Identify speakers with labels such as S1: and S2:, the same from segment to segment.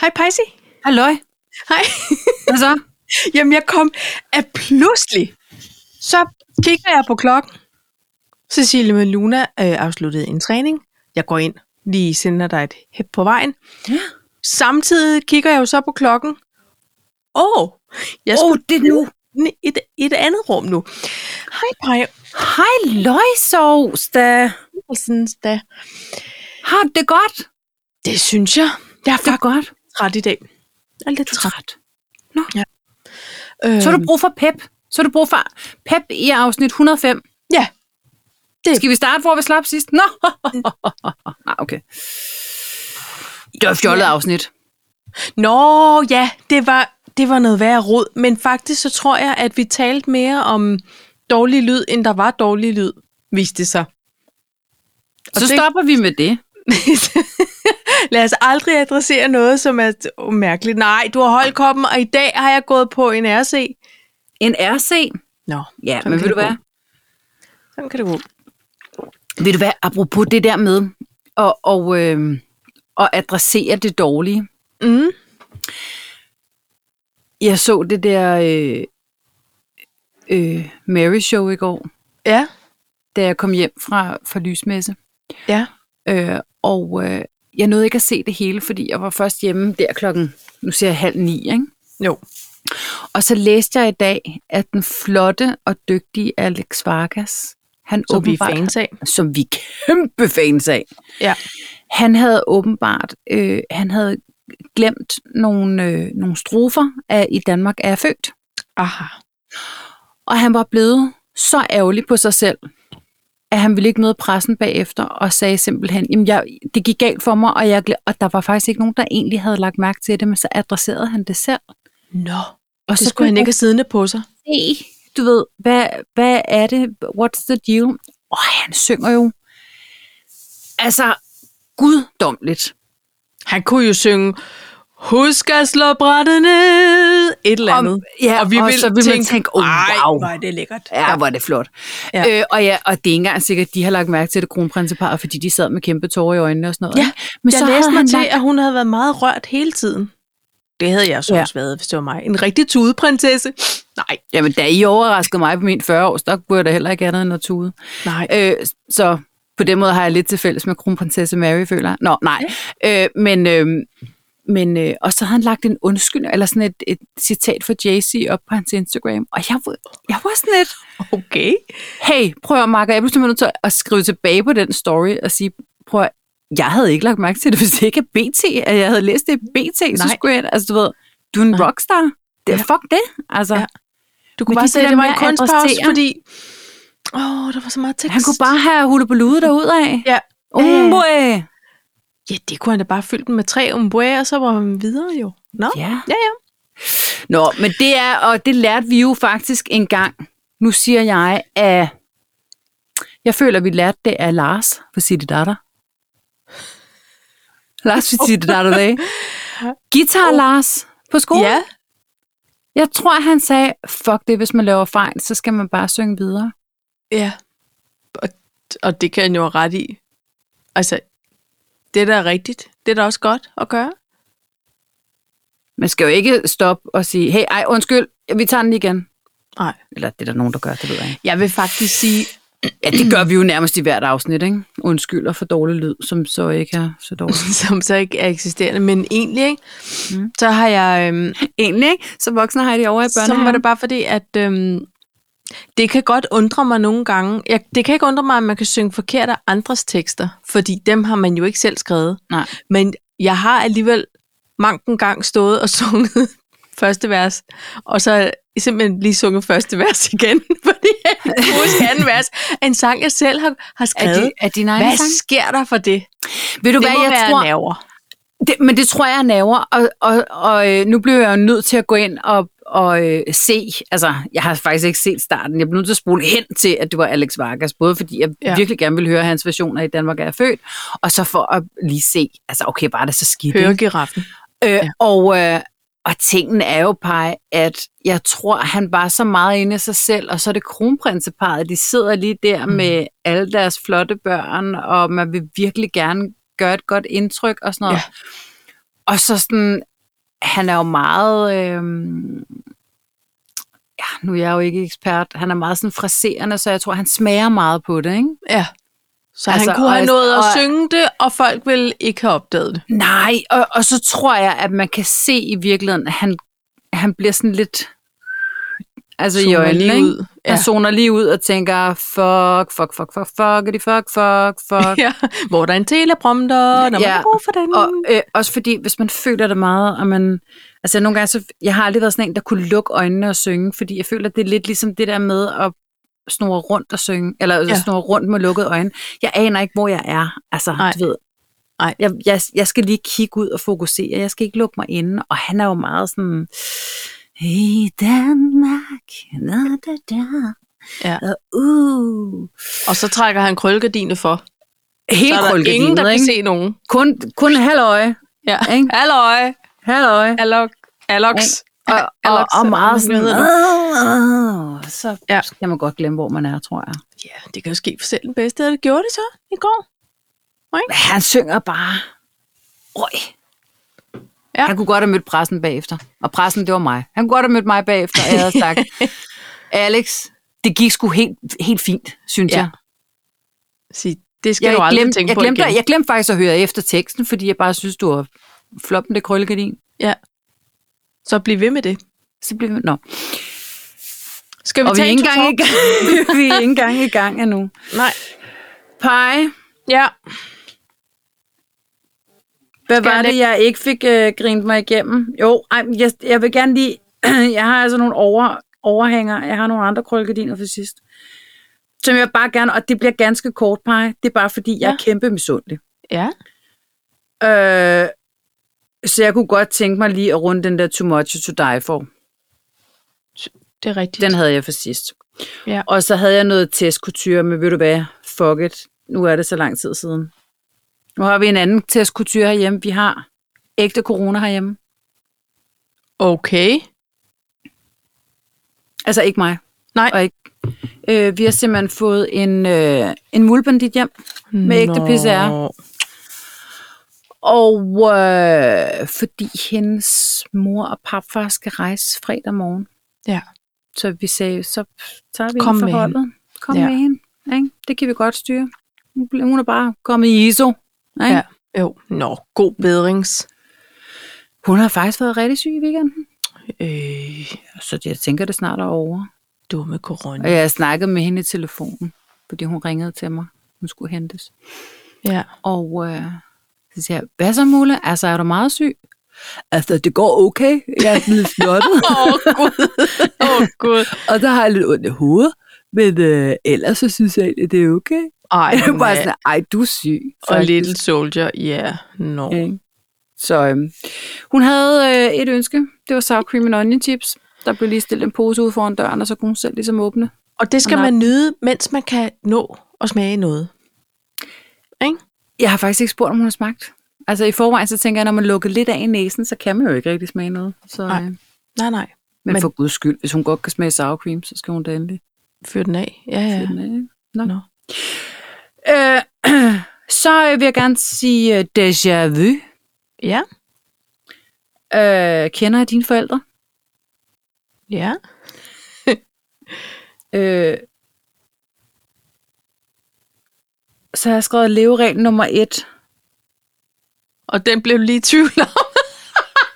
S1: Hej Pejsi.
S2: Halløj.
S1: Hej.
S2: Hvad så?
S1: Jamen jeg kom, at pludselig, så kigger jeg på klokken. Cecilie med Luna øh, afsluttede en træning. Jeg går ind, lige sender dig et hæb på vejen.
S2: Ja.
S1: Samtidig kigger jeg jo så på klokken. Åh, oh, jeg
S2: Åh,
S1: skulle
S2: oh, det er nu.
S1: oh. i et, et andet rum nu. Hej Pej,
S2: Hej, løgsovs da.
S1: Olsens da.
S2: Har du det godt?
S1: Det synes jeg. Jeg er
S2: Det er
S1: faktisk
S2: godt.
S1: træt i dag. Jeg er lidt træt.
S2: Træt.
S1: Øhm,
S2: Så har du brug for pep. Så har du brug for pep i afsnit 105.
S1: Ja.
S2: Det. Skal vi starte, hvor vi slap sidst? Nå. Nej, okay. Det var et fjollet afsnit.
S1: Nå, ja, det var, det var noget værre råd, men faktisk så tror jeg, at vi talte mere om dårlig lyd, end der var dårlig lyd, viste det sig. Og
S2: Så
S1: det-
S2: stopper vi med det.
S1: Lad os aldrig adressere noget, som er oh, mærkeligt. Nej, du har holdt koppen, og i dag har jeg gået på en RC.
S2: En RC.
S1: Nå,
S2: Ja,
S1: Sådan kan
S2: men vil du
S1: det gå.
S2: være?
S1: sådan kan det gå.
S2: Ved du hvad, apropos det der med at, og, øh, at adressere det dårlige.
S1: Mm.
S2: Jeg så det der øh, øh, Mary Show i går,
S1: Ja,
S2: da jeg kom hjem fra, fra lysmesse.
S1: ja.
S2: Øh, og øh, jeg nåede ikke at se det hele, fordi jeg var først hjemme der klokken, nu ser jeg halv ni, ikke?
S1: Jo.
S2: Og så læste jeg i dag, at den flotte og dygtige Alex Vargas, han
S1: Så vi er
S2: åbenbart,
S1: fans af.
S2: som vi er kæmpe fans af,
S1: Ja.
S2: han havde åbenbart, øh, han havde glemt nogle, øh, nogle strofer af I Danmark er jeg født.
S1: Aha.
S2: Og han var blevet så ærgerlig på sig selv, at han ville ikke møde pressen bagefter, og sagde simpelthen, jamen jeg, det gik galt for mig, og, jeg, glem- og der var faktisk ikke nogen, der egentlig havde lagt mærke til det, men så adresserede han det selv.
S1: Nå,
S2: Og
S1: det skulle han ikke have siddende på sig.
S2: se, du ved, hvad, hvad er det, what's the deal? Og han synger jo, altså, guddomligt.
S1: Han kunne jo synge, husk at slå brættet ned, et eller andet.
S2: ja,
S1: og vi
S2: og
S1: vil
S2: så vil man
S1: tænke,
S2: tænke, oh,
S1: "Ej,
S2: wow."
S1: hvor er det lækkert.
S2: Ja, hvor er det flot.
S1: Ja.
S2: Ja. Øh, og, ja, og det er ikke engang sikkert, at de har lagt mærke til det kronprinseparet, fordi de sad med kæmpe tårer i øjnene og sådan noget.
S1: Ja,
S2: ikke? men
S1: jeg
S2: så
S1: læste
S2: havde
S1: mig
S2: han
S1: til,
S2: lagt,
S1: at hun havde været meget rørt hele tiden. Det havde jeg så
S2: Ja.
S1: også været, hvis det var mig. En rigtig tudeprinsesse. Nej,
S2: jamen da I overraskede mig på min 40 års, der kunne jeg da heller ikke andet end at tude.
S1: nej.
S2: Øh, så på den måde har jeg lidt til fælles med kronprinsesse Mary, føler jeg. Nå, nej. Øh, men, øh, men øh, og så havde han lagt en undskyld, eller sådan et, et citat fra Jay-Z op på hans Instagram. Og jeg, var- jeg var sådan lidt,
S1: Øh, Okay.
S2: hey, prøv at høre, Mark, og jeg er simpelthen nødt til at skrive tilbage på den story og sige, prøv at, jeg havde ikke lagt mærke til det, hvis det ikke er BT, at jeg havde læst det i BT, Nej. så
S1: Nej.
S2: skulle jeg, altså du ved, du er en
S1: Nej.
S2: rockstar. Det,
S1: Ja.
S2: ja. Fuck det, altså.
S1: Ja.
S2: Ja.
S1: Du kunne
S2: Men
S1: bare
S2: det
S1: sige,
S2: der
S1: at det var
S2: med
S1: en
S2: at
S1: kunstpause,
S2: adressere-
S1: fordi... Åh, oh, der var så meget tekst.
S2: Han kunne bare have hulebulude derudad.
S1: Ja. Øh,
S2: Umboe.
S1: ja, det kunne han da bare fylde den med tre umbrøer, og så var han videre jo. Nå,
S2: Ja.
S1: ja. ja.
S2: Nå, men det er, og det lærte vi jo faktisk engang. Nu siger jeg, at jeg føler, vi lærte det af Lars på City Data. Lars på City Data Day. Guitar Lars på skolen.
S1: ja.
S2: Jeg tror, han sagde, fuck det, hvis man laver fejl, så skal man bare synge videre.
S1: Ja. Og, og det kan han jo have ret i. Altså, det der er rigtigt, det er da også godt at gøre.
S2: Man skal jo ikke stoppe og sige, hey, ej, undskyld, vi tager den igen.
S1: Nej.
S2: Eller det er der nogen, der gør, det ved jeg ikke.
S1: Jeg vil faktisk sige,
S2: Ja, det gør vi jo nærmest i hvert afsnit, ikke? Undskyld og for dårlig lyd, som så ikke er så dårlig.
S1: som så ikke er eksisterende, men egentlig, ikke? Mm.
S2: Mm.
S1: så har jeg... Øhm,
S2: Egentlig, ikke? Så voksne har det over i
S1: så var det bare fordi, at øhm, det kan godt undre mig nogle gange. Jeg, det kan ikke undre mig, at man kan synge forkert af andres tekster, fordi dem har man jo ikke selv skrevet.
S2: Nej.
S1: Men jeg har alligevel manken gang stået og sunget første vers, og så simpelthen lige sunget første vers igen, fordi jeg ikke kunne huske anden vers af en sang, jeg selv har, har
S2: Er,
S1: skrevet.
S2: de, er din egen
S1: Hvad
S2: sang?
S1: sker der for det?
S2: Ved du
S1: Det
S2: hvad,
S1: må
S2: jeg
S1: være
S2: tror,
S1: nerver.
S2: det, men det tror jeg er naver, og, og, og øh, nu bliver jeg jo nødt til at gå ind og, og øh, se, altså jeg har faktisk ikke set starten, jeg bliver nødt til at spole hen til, at det var Alex Vargas, både fordi jeg
S1: Ja.
S2: ja. virkelig gerne ville høre hans version af I Danmark er jeg født, og så for at lige se, altså okay, var det så skidt?
S1: Høre
S2: ikke?
S1: giraffen.
S2: Øh,
S1: Ja.
S2: og, øh, og tingen er jo, Paj, at jeg tror, han var så meget inde i sig selv, og så er det kronprinseparet, de sidder lige der
S1: Mm.
S2: mm. med alle deres flotte børn, og man vil virkelig gerne gøre et godt indtryk og sådan noget.
S1: Ja.
S2: Ja. Og så sådan, han er jo meget... Øh, ja, nu er jeg jo ikke ekspert. Han er meget sådan fraserende, så jeg tror, han smager meget på det, ikke?
S1: Ja. Så altså,
S2: Altså,
S1: han kunne have
S2: og-
S1: nået at
S2: og-
S1: synge det, og folk ville ikke have opdaget det.
S2: Nej, og, og så tror jeg, at man kan se i virkeligheden, at han, han bliver sådan lidt... Altså i
S1: Zoner
S2: øjnene,
S1: lige
S2: ikke?
S1: ud.
S2: Ja.
S1: Ja.
S2: Han zoner lige ud og tænker, fuck, fuck, fuck, fuck, fuck, fuck, fuck, fuck.
S1: ja. Hvor der er en teleprompter, når ja. man
S2: Ja.
S1: har brug for den.
S2: Og øh, også fordi, hvis man føler det meget, og man... Altså nogle gange, så, jeg har aldrig været sådan en, der kunne lukke øjnene og synge, fordi jeg føler, at det er lidt ligesom det der med at snurre rundt og synge, eller
S1: Ja.
S2: ja. snurre rundt med lukkede øjne. Jeg aner ikke, hvor jeg er. Altså,
S1: Nej.
S2: Nej. du ved.
S1: Nej.
S2: Jeg, jeg, jeg skal lige kigge ud og fokusere. Jeg skal ikke lukke mig inde. Og han er jo meget sådan... I Danmark, na, da, da.
S1: Ja.
S2: Og, uh.
S1: og så trækker han krøllegardinet for.
S2: Helt
S1: så er der ingen, der kan
S2: ikke?
S1: se nogen.
S2: Kun, kun halvøje.
S1: Ja.
S2: Ikke?
S1: Halløj,
S2: Halvøje.
S1: Alok, Alox.
S2: og, og,
S1: Alex,
S2: og, og meget
S1: eller
S2: sådan,
S1: hvad
S2: "Åh, åh", så
S1: Ja.
S2: ja. kan man godt glemme, hvor man er, tror jeg.
S1: Ja, det kan jo ske for selv den bedste, og det gjorde det så i går.
S2: Men han synger bare. Røg.
S1: Ja.
S2: Ja. Han kunne godt have mødt pressen bagefter. Og pressen, det var mig. Han kunne godt have mødt mig bagefter, og jeg havde sagt, Alex, det gik sgu helt, helt fint, synes
S1: Ja,
S2: ja, jeg.
S1: Sig, det skal
S2: Jeg,
S1: du aldrig
S2: glemte,
S1: tænke
S2: jeg,
S1: på
S2: glemte,
S1: igen.
S2: jeg glemte faktisk at høre efter teksten, fordi jeg bare synes, du var floppen, det krøllegardin.
S1: Ja. Så bliv ved med det.
S2: Så blev vi... Nå.
S1: Skal vi
S2: Og vi er
S1: tage
S2: ikke
S1: en
S2: engang i
S1: tutor?
S2: gang, vi er ikke engang i gang endnu.
S1: Nej.
S2: Pie.
S1: Ja.
S2: Hvad
S1: Skal
S2: var
S1: jeg
S2: det, jeg ikke fik øh, grint mig igennem? Jo, ej, men jeg, jeg vil gerne lige... jeg har altså nogle over, overhænger. Jeg har nogle andre krøllegardiner for sidst. Som jeg bare gerne... Og det bliver ganske kort, pege. Det er bare, fordi jeg
S1: Ja.
S2: er kæmpe misundelig.
S1: Ja.
S2: Øh, så jeg kunne godt tænke mig lige at runde den der Too Much To Die For.
S1: Det er rigtigt.
S2: Den havde jeg for sidst.
S1: Ja.
S2: Og så havde jeg noget testkultur, men ved du hvad? Fuck it. Nu er det så lang tid siden. Nu har vi en anden testkultur herhjemme. Vi har ægte corona herhjemme.
S1: Okay.
S2: Altså ikke mig.
S1: Nej.
S2: Og ikke. Øh, vi har simpelthen fået en, øh, en mulbandit hjem med ægte
S1: Nå.
S2: PCR. Og øh, fordi hendes mor og papfar skal rejse fredag morgen.
S1: Ja.
S2: Så vi sagde, så tager vi
S1: Kom
S2: Kom en
S1: med
S2: for holdet. Kom
S1: Ja.
S2: med hende. Ikke? Det kan vi godt styre. Hun blev- Hun er bare kommet i ISO. Ikke?
S1: Ja. Jo. Nå, god bedrings.
S2: Hun har faktisk været rigtig syg i weekenden.
S1: Øh,
S2: Så jeg tænker, det snart er over.
S1: dumme corona.
S2: Og jeg snakkede med hende i telefonen, fordi hun ringede til mig. Hun skulle hentes.
S1: Ja.
S2: Og øh, så siger jeg, hvad så Mulle? Altså, er du meget syg? Altså, det går okay. Jeg er blevet snottet,
S1: Åh, oh, Gud. Åh, oh, Gud.
S2: og der har jeg lidt ondt i hovedet. Men øh, ellers så synes jeg, at det er okay.
S1: Ej,
S2: Jeg er bare
S1: mand.
S2: sådan, ej, du er syg.
S1: Og
S2: faktisk."
S1: Little Soldier, ja. Nå.
S2: Ikke? Så øh, hun havde øh, et ønske. Det var sour cream and onion chips. Der blev lige stillet en pose ud foran døren, og så kunne hun selv ligesom åbne.
S1: Og det skal
S2: Nå.
S1: man nyde, mens man kan nå at smage noget.
S2: Jeg har faktisk ikke spurgt, om hun har smagt. Altså i forvejen, så tænker jeg, når man lukker lidt af i næsen, så kan man jo ikke rigtig smage noget. Så,
S1: Nej.
S2: øh,
S1: Nej, nej.
S2: Men,
S1: Men-
S2: men for guds skyld, hvis hun godt kan smage sour cream, så skal hun da endelig
S1: Fyr den af. Ja, ja.
S2: ja. den af. ikke? Nå.
S1: Nå.
S2: Øh, så øh, vil jeg gerne sige øh, déjà vu.
S1: Ja.
S2: Øh, kender jeg dine forældre?
S1: Ja.
S2: Øh, så har jeg skrevet leveregel nummer et.
S1: Og den blev lige i tvivl om.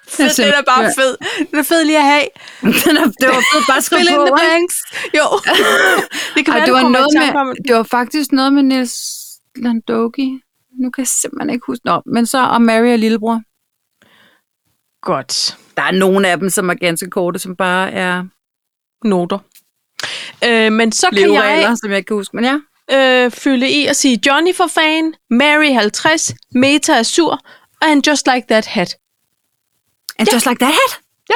S1: Fed,
S2: Altså,
S1: den er bare
S2: ja.
S1: fed. Den er fed lige at have.
S2: Den er- det var fedt bare at skrive
S1: Fill in
S2: på,
S1: the
S2: ikke?
S1: blanks. Jo. det kan
S2: Ej,
S1: være,
S2: det,
S1: du
S2: var
S1: kommer
S2: noget
S1: i tanke om.
S2: med, det var faktisk noget med Niels Landogi. Nu kan jeg simpelthen ikke huske. Nå, men så om Mary og lillebror.
S1: Godt.
S2: Der er nogle af dem, som er ganske korte, som bare er
S1: Noter. Øh, men så kan
S2: leveregler,
S1: jeg
S2: som jeg ikke kan huske. Men ja,
S1: øh, fylde i og sige, Johnny for fan, Mary 50, Meta er sur, and just like that hat.
S2: And just like that?
S1: Ja.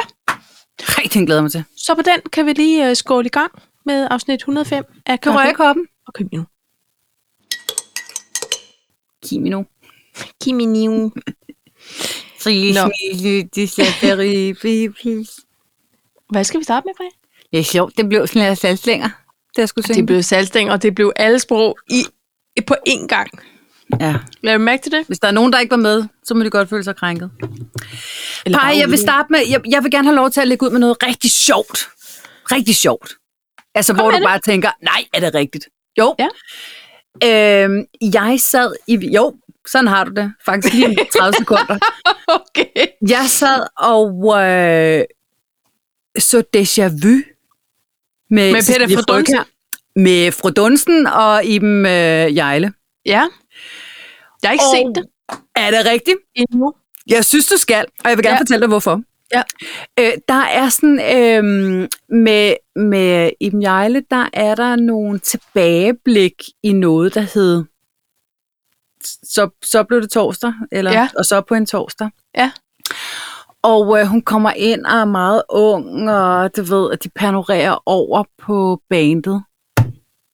S2: Rigtig den glæder jeg mig til.
S1: Så på den kan vi lige øh, skåle i gang med afsnit 105 af Kan
S2: hoppen?
S1: og Kimino.
S2: Kimino.
S1: Kimino. Nå. Hvad skal vi starte med, Freja?
S2: Det er sjovt, det blev sådan en salgslænger, da jeg skulle synge.
S1: Det blev salgsting, og det blev alle sprog i, på én gang.
S2: Ja.
S1: Lad du mærke til det?
S2: Hvis der er nogen, der ikke var med, så må de godt føle sig krænket.
S1: Eller
S2: Paj, jeg vil
S1: afledt.
S2: starte med, jeg, jeg vil gerne have lov til at lægge ud med noget rigtig sjovt. Rigtig sjovt. Altså, Kom hvor
S1: med
S2: du
S1: det.
S2: bare tænker, nej, er det rigtigt? Jo.
S1: Ja.
S2: Øhm, jeg sad i... Jo, sådan har du det. Faktisk lige om 30 sekunder.
S1: Okay.
S2: Jeg sad og øh, så Deja Vu med,
S1: Peter
S2: Cecilie
S1: Fra Dunsen.
S2: Frøkjær. Med Fru Dunsen og Iben øh, Jejle.
S1: Ja. Jeg har ikke set
S2: Og-
S1: det
S2: Er det rigtigt?
S1: endnu.
S2: Jeg synes, du skal, og jeg vil gerne
S1: Ja.
S2: ja. fortælle dig, hvorfor.
S1: Ja.
S2: Øh, der er sådan, øh, med, med Iben Jejle, der er der nogle tilbageblik i noget, der hed, så, så blev det torsdag, eller,
S1: Ja.
S2: ja. og så på en torsdag.
S1: Ja.
S2: Og øh, hun kommer ind og er meget ung, og du ved, at de panorerer over på bandet.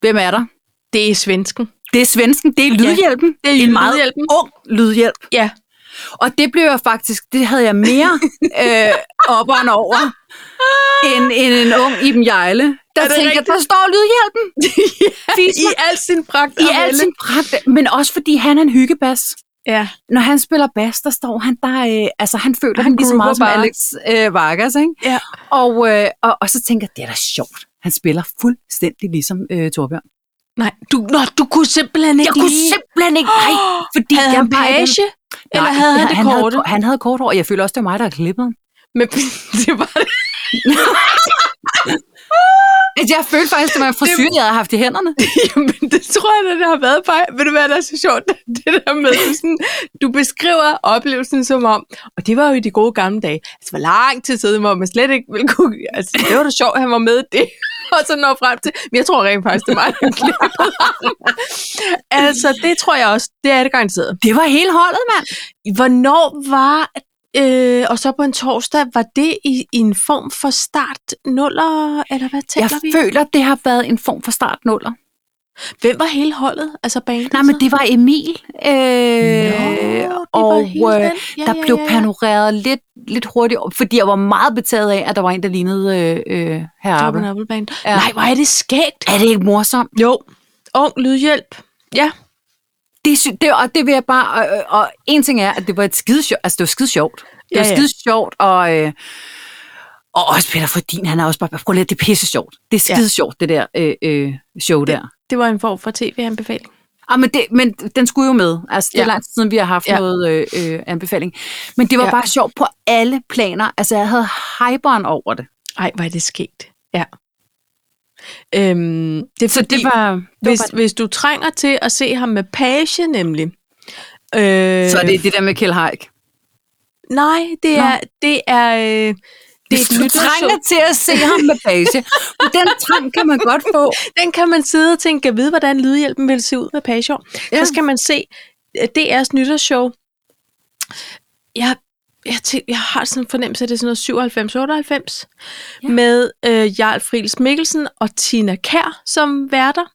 S2: Hvem er der?
S1: Det er svensken.
S2: Det er svensken, det er Lydhjælpen.
S1: det er
S2: en meget
S1: Lydhjælpen.
S2: ung Lydhjælp.
S1: Ja.
S2: Og det blev jeg faktisk, det havde jeg mere øh, op og over, end, end en ung Iben Jejle. Der
S1: Er det
S2: tænkte jeg,
S1: rigtigt?
S2: der står lydhjælpen
S1: I al sin pragt.
S2: i al sin pragt. Men også fordi han er en hyggebas.
S1: Ja.
S2: Når han spiller bas, der står han der, øh, altså han føler
S1: Han
S2: han lige så
S1: groover
S2: meget som
S1: bare.
S2: Alex øh, Vargas, ikke?
S1: Ja.
S2: Og, øh, og, og så tænker jeg, det er da sjovt. Han spiller fuldstændig ligesom øh, Torbjørn.
S1: Nej, du, nå, du kunne simpelthen ikke
S2: Jeg kunne
S1: lide.
S2: simpelthen ikke, nej, fordi
S1: Havde
S2: jeg
S1: han
S2: var i den-
S1: page? Eller
S2: Nej,
S1: havde han det
S2: han
S1: korte?
S2: Havde, han havde kort hår, og jeg føler også, det var mig, der har klippet ham.
S1: Men det var det.
S2: Altså, jeg følte faktisk, det var en frisyr, jeg havde haft i hænderne.
S1: Jamen, det tror jeg, da, det har været bare. Ved du hvad, der er så sjovt? Det der med, du sådan, du beskriver oplevelsen som om, og det var jo i de gode gamle dage. Altså, hvor lang tid siden, hvor man slet ikke ville kunne... Altså, det var da sjovt, at han var med i det. Og så når frem til... Men jeg tror rent faktisk, det var mig, der klippede ham. Altså, det tror jeg også. Det er det garanteret.
S2: Det var hele holdet, mand.
S1: Hvornår var, øh, og så på en torsdag, var det i, i en form for start nuller, eller hvad
S2: Jeg
S1: taler vi?
S2: føler, det har været en form for startnuller.
S1: Hvem var hele holdet? Altså bandet?
S2: Nej, men det var Emil. Øh,
S1: Nå, det
S2: og
S1: var hele
S2: øh,
S1: den. ja,
S2: der
S1: ja,
S2: blev
S1: ja, ja.
S2: panoreret lidt, lidt hurtigt, op, fordi jeg var meget betaget af, at der var en, der lignede øh, øh,
S1: Double
S2: herre
S1: Double Band.
S2: Ja.
S1: Nej, hvor er det skægt.
S2: Er det ikke morsomt?
S1: Jo. Ung lydhjælp. Ja.
S2: Det, sy- det, og det vil jeg bare... Og, og, og en ting er, at det var et skide sjovt. Altså, det var skide sjovt. Det
S1: Ja,
S2: var
S1: ja.
S2: ja, skide sjovt, og... Øh, og også Peter Fordin, han er også bare... Prøv lige, det er pisse sjovt. Det er
S1: Ja.
S2: skide sjovt, det der øh, øh, show der.
S1: Det var en form for tv-anbefaling.
S2: Ah, men, det, men den skulle jo med. Altså, det er
S1: Ja.
S2: ja. lang tid siden, vi har haft
S1: Ja.
S2: ja. noget øh, øh, anbefaling. Men det var
S1: Ja.
S2: ja. bare sjovt på alle planer. Altså, jeg havde hyperen over det.
S1: Ej, hvor er det skægt. Ja. Øhm, det er
S2: Så
S1: fordi,
S2: det var... Det
S1: hvis,
S2: var bare,
S1: hvis du trænger til at se ham med page, nemlig. Øh,
S2: så er det det der med Kjell Haik.
S1: Nej, det
S2: Nå.
S1: er... Det er øh, det er
S2: Hvis
S1: et
S2: du
S1: lyttershow.
S2: trænger til at se ham med page, men den trang kan man godt få.
S1: Den kan man sidde og tænke, at vide, hvordan lydhjælpen vil se ud med Page ja.
S2: Ja.
S1: Så skal man se øh, DR's nytårsshow. Jeg, jeg, tænk, jeg har sådan en fornemmelse, at det er sådan noget 97-98, ja.
S2: Ja.
S1: med øh, Jarl Friis Mikkelsen og Tina Kær som værter.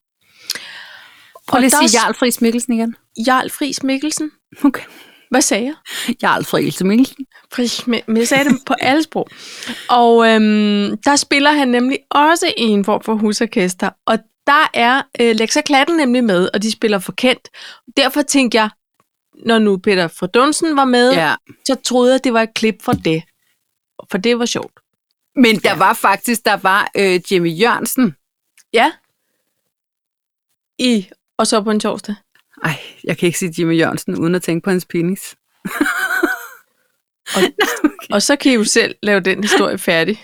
S2: Prøv lige
S1: Og
S2: at
S1: der
S2: sige Jarl Friis Mikkelsen igen.
S1: Jarl Friis Mikkelsen.
S2: Okay.
S1: Hvad sagde jeg?
S2: Jarl Friis Mikkelsen.
S1: Friis, Mi- men jeg sagde det på alle sprog. Og øhm, der spiller han nemlig også i en form for husorkester, og der er øh, Lexa Klatten nemlig med, og de spiller forkendt. Derfor tænkte jeg, når nu Peter Fredunsen var med, ja.
S2: Ja.
S1: så troede jeg, det var et klip fra det. For det var sjovt.
S2: Men der var faktisk, der var øh, Jimmy Jørgensen.
S1: Ja. I, og så på en torsdag.
S2: Ej, jeg kan ikke sige Jimmy Jørgensen, uden at tænke på hans penis.
S1: Og, okay. og så kan I jo selv lave den historie færdig.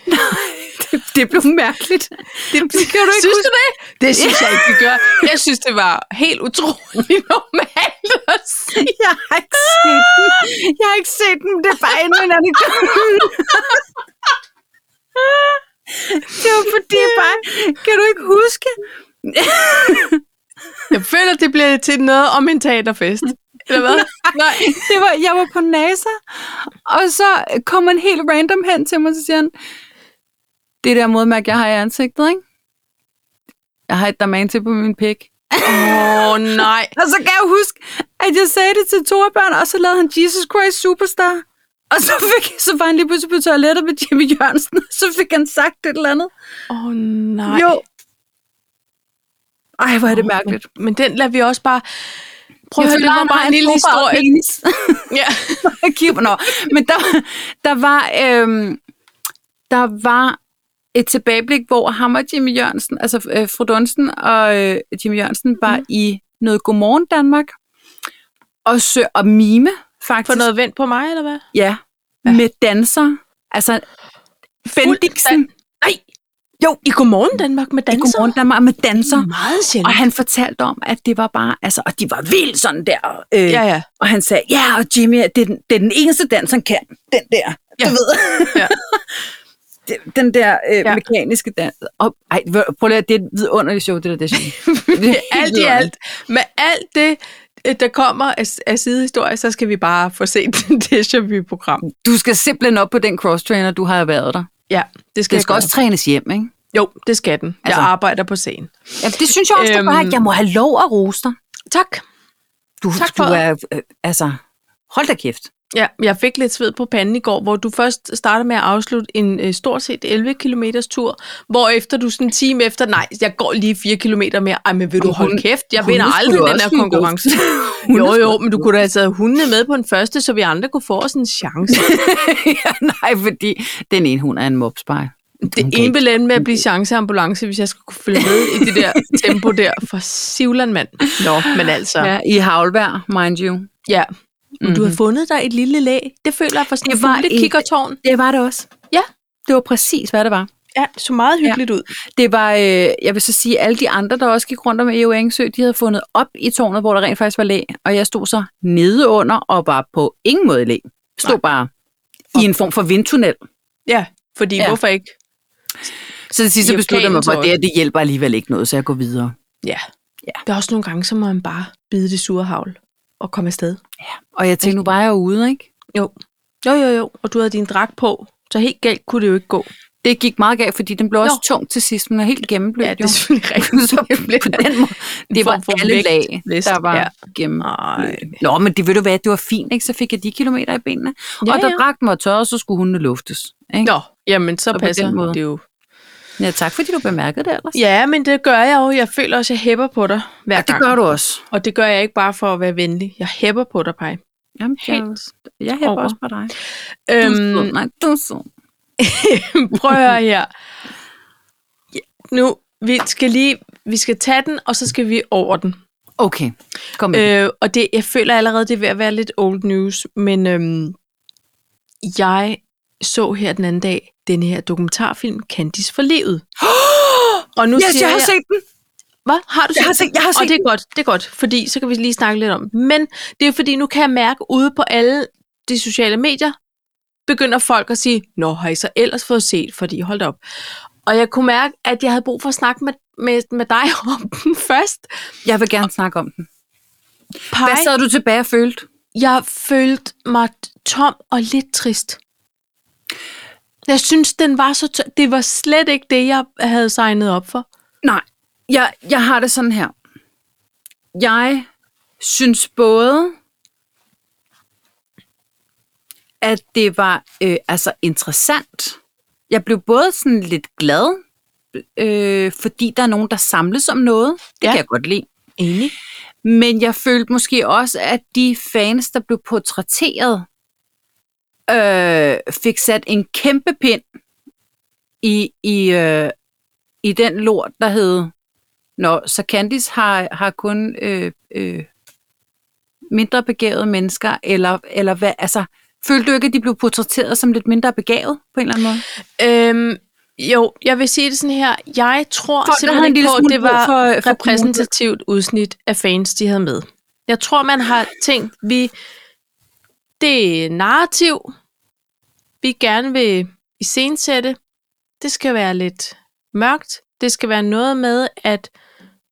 S2: Det, det blev mærkeligt.
S1: Det, det kan du ikke synes huske. du det? Det synes jeg ikke, vi gør. Jeg synes, det var helt utroligt normalt at sige.
S2: Jeg har ikke set den. Jeg har ikke set den. Det er bare endnu en anekdote. Det var fordi, jeg bare... Kan du ikke huske?
S1: Jeg føler, det bliver til noget om en teaterfest. Eller hvad? Nej.
S2: Det var, jeg var på NASA, og så kom man helt random hen til mig, og så siger han, det der modmærke, jeg har i ansigtet, ikke? Jeg har et derman til på min pik.
S1: Åh, oh, nej.
S2: Og så kan jeg huske, at jeg sagde det til Torbjørn, og så lavede han Jesus Christ Superstar. Og så, fik, så var han lige pludselig på toilettet med Jimmy Jørgensen, og så fik han sagt et eller andet.
S1: Åh, oh, nej.
S2: Jo. Ej, hvor er det mærkeligt.
S1: Men den lader vi også bare... Prøv at høre, det var bare en lille historie.
S2: Penis.
S1: Ja.
S2: Cuba. Nå, men der, der var... Øhm, der var et tilbageblik, hvor ham og Jimmy Jørgensen, altså øh, fru Dunsten og øh, Jimmy Jørgensen, var
S1: Mhm.
S2: mm. i noget Godmorgen Danmark, og, sø, og mime, faktisk.
S1: For noget vendt på mig, eller hvad?
S2: Ja,
S1: Ja.
S2: ja. med danser. Altså, Bendiksen
S1: Nej! Jo, i Godmorgen Danmark med
S2: i
S1: danser.
S2: Godmorgen Danmark med danser. Mm,
S1: Meget
S2: Og
S1: sjældent.
S2: han fortalte om, at det var bare, altså, og de var vildt sådan der. Øh,
S1: Ja,
S2: ja.
S1: ja.
S2: Og han sagde, ja, og Jimmy, det er den, det er den eneste dans, han kan. Den der,
S1: Ja.
S2: ja. du ved.
S1: Ja.
S2: Det- den der øh,
S1: Ja.
S2: ja. mekaniske dans. Og, ej, hvor- prøv lige, at- det er et vidunderligt show, det der. Det er sjovt. Det er helt
S1: Alt i
S2: vidunderligt.
S1: alt. Med alt det, øh, der kommer af, af sidehistorie, så skal vi bare få set det program
S2: Du skal simpelthen op på den cross-trainer, du har været der.
S1: Ja, det skal,
S2: Den
S1: jeg
S2: skal
S1: gøre.
S2: også trænes hjem, ikke?
S1: Jo, det skal den. Jeg
S2: Altså-
S1: arbejder på scenen.
S2: Ja, det synes jeg også, øhm,
S1: Øhm.
S2: bare, at jeg må have lov at rose dig.
S1: Tak.
S2: Du,
S1: Tak for-
S2: du er, øh, altså, hold da kæft.
S1: Ja, jeg fik lidt sved på panden i går, hvor du først starter med at afslutte en øh, stort set 11 km tur, hvor efter du sådan en time efter, nej, jeg går lige 4 km mere. Ej, men vil du
S2: Om
S1: holde
S2: hunde-
S1: kæft? Jeg
S2: hunde
S1: vinder
S2: skulle
S1: aldrig
S2: du
S1: den
S2: også
S1: her
S2: skulle i
S1: konkurrence.
S2: Hunde
S1: jo,
S2: skulle
S1: jo,
S2: også
S1: men du kunne da have taget hundene med på den første, så vi andre kunne få os en chance.
S2: ja, nej, fordi den ene hund er en mobspej.
S1: Det ene vil ende med at blive chanceambulance, hvis jeg skulle kunne følge med i det der tempo der. For Sivland, mand. Nå, men altså. Ja.
S2: Ja, i havlvejr, mind you.
S1: ja. Mm-hmm. Du har fundet dig et lille lag. Det føler jeg for sådan
S2: Det var
S1: et
S2: et-
S1: kikkertårn.
S2: Det var det også.
S1: Ja.
S2: Det var præcis, hvad det var.
S1: Ja, så meget hyggeligt ja. ud.
S2: Det var, øh, jeg vil så sige, alle de andre, der også gik rundt om Eo Engsø, de havde fundet op i tårnet, hvor der rent faktisk var læ, og jeg stod så nede under og var på ingen måde i læ. Stod
S1: Nej.
S2: Nej. bare i en form for vindtunnel.
S1: Ja, fordi ja.
S2: Ja.
S1: hvorfor ikke?
S2: Så til sidst så
S1: I
S2: besluttede jeg mig for, at det,
S1: orkantøjet.
S2: her, det hjælper alligevel ikke noget, så jeg går videre.
S1: Ja.
S2: Ja.
S1: Der er også nogle gange, så må man bare bide det sure havl og komme afsted.
S2: Og jeg tænkte, nu var jeg jo ude, ikke?
S1: Jo. Jo, jo, jo. Og du havde din dragt på, så helt galt kunne det jo ikke gå.
S2: Det gik meget galt, fordi den blev også
S1: Nå.
S2: tung til sidst, men er helt gennemblødt.
S1: Ja, det
S2: jo.
S1: er selvfølgelig rigtigt.
S2: så på den måde, det var
S1: form for
S2: alle
S1: vægt,
S2: lag,
S1: vist.
S2: der var
S1: Ja.
S2: ja. gennem.
S1: Nej.
S2: Nå, men det ved du hvad, det var fint, ikke? Så fik jeg de kilometer i benene.
S1: Ja,
S2: Ja, og da
S1: ja.
S2: ja. dragten var tørret, så skulle hundene luftes. Ikke?
S1: Nå, jamen så,
S2: på
S1: så passer
S2: den måde.
S1: det jo.
S2: Ja, tak fordi du bemærkede det ellers.
S1: Ja, men det gør jeg jo. Jeg føler også, at jeg hæpper på dig hver
S2: ja det
S1: gang.
S2: gør du også.
S1: Og det gør jeg ikke bare for at være venlig. Jeg hæpper på dig, Paj.
S2: Jamen, jeg,
S1: Helt
S2: jeg hæber
S1: over.
S2: også på dig. Du er sød.
S1: Øhm,
S2: Nej, du er sød.
S1: prøv at høre her. Ja, nu, vi skal lige, vi skal tage den, og så skal vi over den.
S2: Okay, kom med. Øh,
S1: Øh, og det, jeg føler allerede, det er ved at være lidt old news, men øhm, jeg så her den anden dag den her dokumentarfilm, Candice for livet. og nu siger jeg,
S2: set den.
S1: Hvad? Har du set
S2: Jeg har
S1: den?
S2: set- jeg har
S1: Og
S2: set
S1: det er godt, det er godt, fordi så kan vi lige snakke lidt om den. Men det er fordi, nu kan jeg mærke ude på alle de sociale medier, begynder folk at sige, Nå, har I så ellers fået set, fordi hold da op. Og jeg kunne mærke, at jeg havde brug for at snakke med, med, med dig om den først.
S2: Jeg vil gerne snakke om den.
S1: Pej,
S2: Hvad sad du tilbage og følte?
S1: jeg følte mig tom og lidt trist. Jeg synes, den var så tø- Det var slet ikke det, jeg havde signet op for.
S2: Nej, jeg, jeg har det sådan her. Jeg synes både, at det var øh, altså interessant. Jeg blev både sådan lidt glad, øh, fordi der er nogen, der samles om noget. Det
S1: Ja.
S2: ja. kan jeg godt lide.
S1: Enig.
S2: Men jeg følte måske også, at de fans, der blev portrætteret, øh, fik sat en kæmpe pind i, i, øh, i den lort, der hed... Nå, så Candice har, har kun øh, øh, mindre begavede mennesker, eller, eller hvad? Altså, følte du ikke, at de blev portrætteret som lidt mindre begavet på en eller anden måde?
S1: Øhm, jo, jeg vil sige det sådan her. Jeg tror
S2: Folk, der havde
S1: simpelthen
S2: en
S1: ikke
S2: lille
S1: på, at
S2: smule
S1: det
S2: brug
S1: var
S2: for- for
S1: repræsentativt udsnit af fans, de havde med. Jeg tror, man har tænkt, vi det er narrativ, vi gerne vil iscenesætte. Det skal være lidt mørkt. Det skal være noget med, at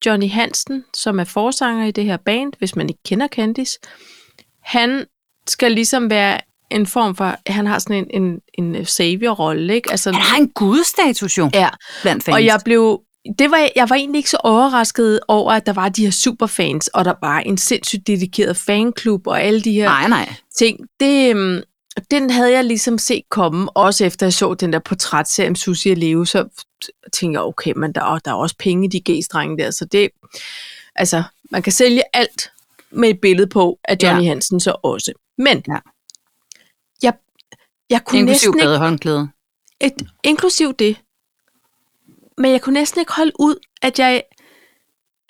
S1: Johnny Hansen, som er forsanger i det her band, hvis man ikke kender Candice, han skal ligesom være en form for, han har sådan en, en, en savior-rolle, ikke? Altså,
S2: Han har en gudestatus jo,
S1: Ja,
S2: blandt fans.
S1: og jeg blev... Det var, jeg var egentlig ikke så overrasket over, at der var de her superfans, og der var en sindssygt dedikeret fanklub, og alle de her
S2: Nej, nej.
S1: ting. Det, øhm, den havde jeg ligesom set komme, også efter jeg så den der portrætserie om Susie og Leo, så t- tænkte jeg, okay, men der, og der er også penge i de g-strenge der, så det, altså, man kan sælge alt med et billede på af Johnny
S2: Ja.
S1: ja. Hansen så også. Men
S2: Ja.
S1: jeg, jeg kunne
S2: Inklusiv
S1: næsten ikke
S2: badehåndklæde.
S1: Et, inklusiv det. Men jeg kunne næsten ikke holde ud, at jeg,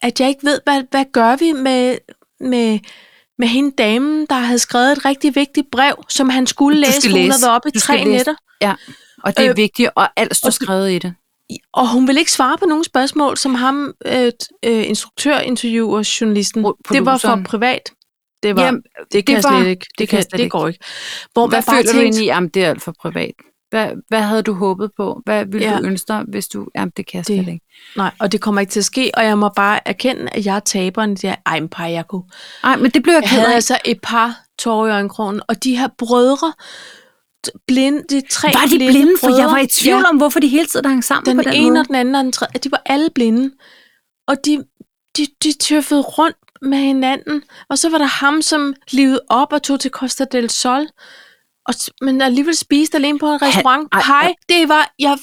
S1: at jeg ikke ved, hvad, hvad gør vi med, med, med hende damen, der havde skrevet et rigtig vigtigt brev, som han skulle læse,
S2: skal
S1: hun
S2: læse.
S1: havde været oppe i
S2: Du skal
S1: tre
S2: læse.
S1: nætter.
S2: Ja, og det er øh,
S1: Øh,
S2: vigtigt, og alt står
S1: og-
S2: skrevet i det.
S1: Og hun ville ikke svare på nogen spørgsmål, som ham, øh, t- øh, instruktørinterviewer, journalisten.
S2: Pro-
S1: Det var for
S2: produceren.
S1: privat. Det var,
S2: Jamen,
S1: det kan
S2: det
S1: det jeg
S2: var-
S1: slet ikke. Det,
S2: det
S1: det, kan,
S2: kan jeg slet
S1: det
S2: ikke.
S1: går ikke. Hvor
S2: Hvad
S1: man bare
S2: føler du
S1: tænkte,
S2: egentlig, om det er alt for privat? Hvad, hvad havde du håbet på? Hvad ville ja.
S1: Ja.
S2: du ønske dig, hvis du... Jamen, det kan jeg
S1: Det-
S2: slet ikke.
S1: Nej, og det kommer ikke til at ske, og jeg må bare erkende, at jeg er taberen. i Det er, ej, men par, jeg kunne
S2: Nej, men det blev jeg
S1: Jeg
S2: ked
S1: havde
S2: af.
S1: altså et par tårer i øjekrogen, og de her brødre, t- blinde, de tre
S2: Var de blinde? For jeg
S1: brødre,
S2: var i tvivl
S1: ja,
S2: om, hvorfor de hele tiden hang sammen
S1: den,
S2: på den
S1: ene
S2: måde.
S1: og den anden og den tredje, de var alle blinde, og de, de, de tøffede rundt med hinanden, og så var der ham, som livede op og tog til Costa del Sol, og, s- men alligevel spiste alene på en restaurant.
S2: ej,
S1: Han, Pej, det var, jeg,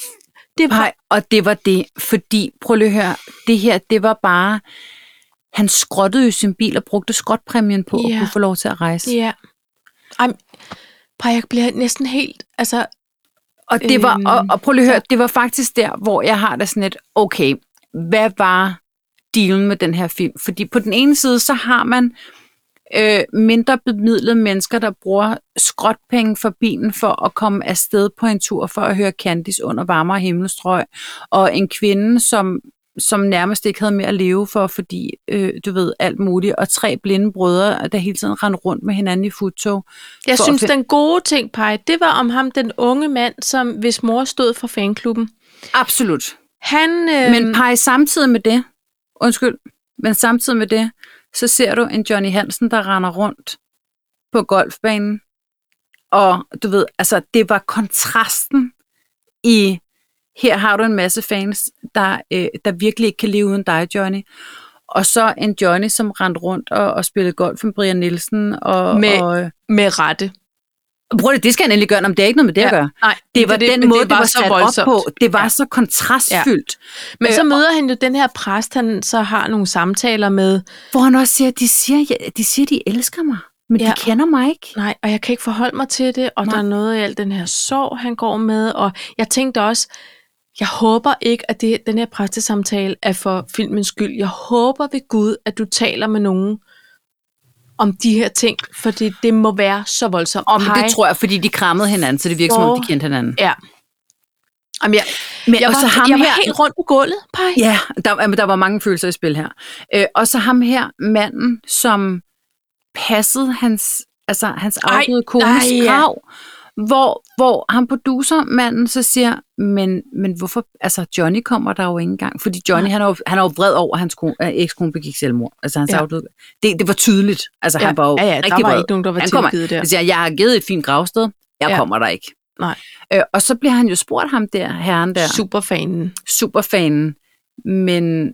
S1: det var,
S2: Nej, og det var det, fordi, prøv lige at høre, det her, det var bare, han skrottede jo sin bil og brugte skrotpræmien på at
S1: Ja.
S2: kunne få lov til at rejse.
S1: ja. Ej, men- Pej, jeg bliver næsten helt, altså,
S2: Og, det var,
S1: Øhm,
S2: og, og prøv lige at høre, det var faktisk der, hvor jeg har det sådan lidt, okay, hvad var dealen med den her film? Fordi på den ene side, så har man øh, mindre bemidlede mennesker, der bruger skrotpenge for bilen for at komme afsted på en tur for at høre Candice under varmere himmelstrøg. Og en kvinde, som, som nærmest ikke havde mere at leve for, fordi, øh, du ved, alt muligt. Og tre blinde brødre, der hele tiden rendte rundt med hinanden i futtog.
S1: Jeg
S2: for at
S1: synes,
S2: finde-
S1: den gode ting, Paj, det var om ham, den unge mand, som hvis mor stod for fanklubben.
S2: Absolut.
S1: Han, øh,
S2: Men pege samtidig med det, undskyld, men samtidig med det, så ser du en Johnny Hansen, der render rundt på golfbanen. Og du ved, altså det var kontrasten i, her har du en masse fans, der, øh, der virkelig ikke kan leve uden dig, Johnny. Og så en Johnny, som rendte rundt og, og spillede golf med Brian Nielsen. Og,
S1: Med-
S2: og, øh,
S1: med rette.
S2: prøv det, det skal han endelig gøre, om det er ikke noget med det ja, at gøre.
S1: Nej,
S2: Det var det, den
S1: men
S2: måde, det var, det var sat op på. Det var ja.
S1: Ja.
S2: så kontrastfyldt. Ja.
S1: Men
S2: Øh,
S1: så
S2: og-
S1: møder han jo den her præst, han så har nogle samtaler med.
S2: Hvor han også siger, de siger, ja, de siger, de elsker mig, men ja.
S1: Ja.
S2: de kender mig ikke.
S1: Nej, og jeg kan ikke forholde mig til det, og
S2: Nej.
S1: Nej. der er noget i al den her sorg, han går med. Og jeg tænkte også, jeg håber ikke, at det, den her præstesamtale er for filmens skyld. Jeg håber ved Gud, at du taler med nogen om de her ting, fordi det må være så voldsomt.
S2: Og men
S1: Hej.
S2: det tror jeg, fordi de krammede hinanden, så det virker som om, de kendte hinanden.
S1: Ja. Jamen, jeg,
S2: Men
S1: jeg,
S2: og
S1: var,
S2: så ham
S1: jeg
S2: her-
S1: var helt rundt på gulvet, Paj.
S2: Ja, der, jamen, der var mange følelser i spil her. Øh, og så ham her, manden, som passede hans, altså, hans afdøde kones
S1: nej, ja.
S2: grav, hvor, hvor han producermanden så siger, men, men hvorfor, altså Johnny kommer der jo ikke engang, fordi Johnny, han er jo, han er jo vred over, at hans kone, øh, ekskone begik selvmord, altså hans ja.
S1: Ja.
S2: afdøde, det, det var tydeligt, altså
S1: Ja,
S2: han var jo
S1: ja, ja, der
S2: rigtig
S1: var
S2: vred.
S1: ikke nogen, der var
S2: Han kommer-
S1: tilgivet der.
S2: Han siger, jeg har givet et fint gravsted, jeg ja.
S1: Ja.
S2: kommer der ikke.
S1: Nej.
S2: Øh, og så bliver han jo spurgt ham der, herren der,
S1: Superfanen.
S2: superfanen, men,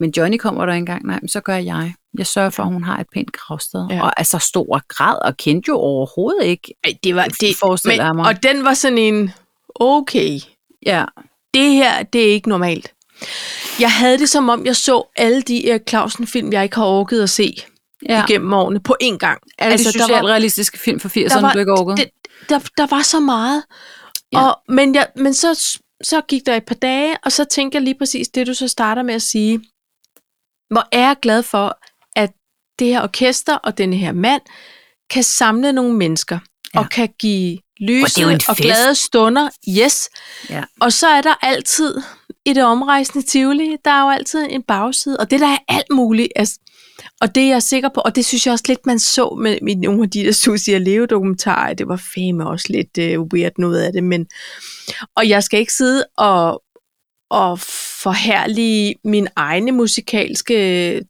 S2: men Johnny kommer der ikke engang, nej, men så gør jeg. Jeg sørger for, at hun har et pænt gravsted. Ja.
S1: Ja.
S2: Og altså stor grad, og kendte jo overhovedet ikke.
S1: Ej, det var det.
S2: forestiller jeg mig.
S1: og den var sådan en, okay,
S2: Ja,
S1: det her, det er ikke normalt. Jeg havde det som om, jeg så alle de Erik Clausen-film, jeg ikke har orket at se
S2: ja.
S1: ja. igennem årene på én gang.
S2: Alle altså, de
S1: der var-
S2: socialrealistiske film fra
S1: der
S2: 80'erne,
S1: var,
S2: du ikke orkede.
S1: Det, der, der var så meget.
S2: Ja.
S1: Ja. Og, men jeg, men så, så gik der et par dage, og så tænker jeg lige præcis det, du så starter med at sige. Hvor er jeg glad for, at det her orkester og den her mand kan samle nogle mennesker
S2: Ja.
S1: ja. og kan give
S2: det er jo
S1: lyse
S2: en
S1: og, og
S2: fest.
S1: glade stunder. Yes.
S2: Ja.
S1: Og så er der altid i det omrejsende Tivoli, der er jo altid en bagside, og det der er alt muligt. Altså, og det er jeg sikker på, og det synes jeg også lidt, man så med, med nogle af de der Susie og Leo dokumentarer, det var fame også lidt øh, weird noget af det, men og jeg skal ikke sidde og, og forhærlige mine egne musikalske øh,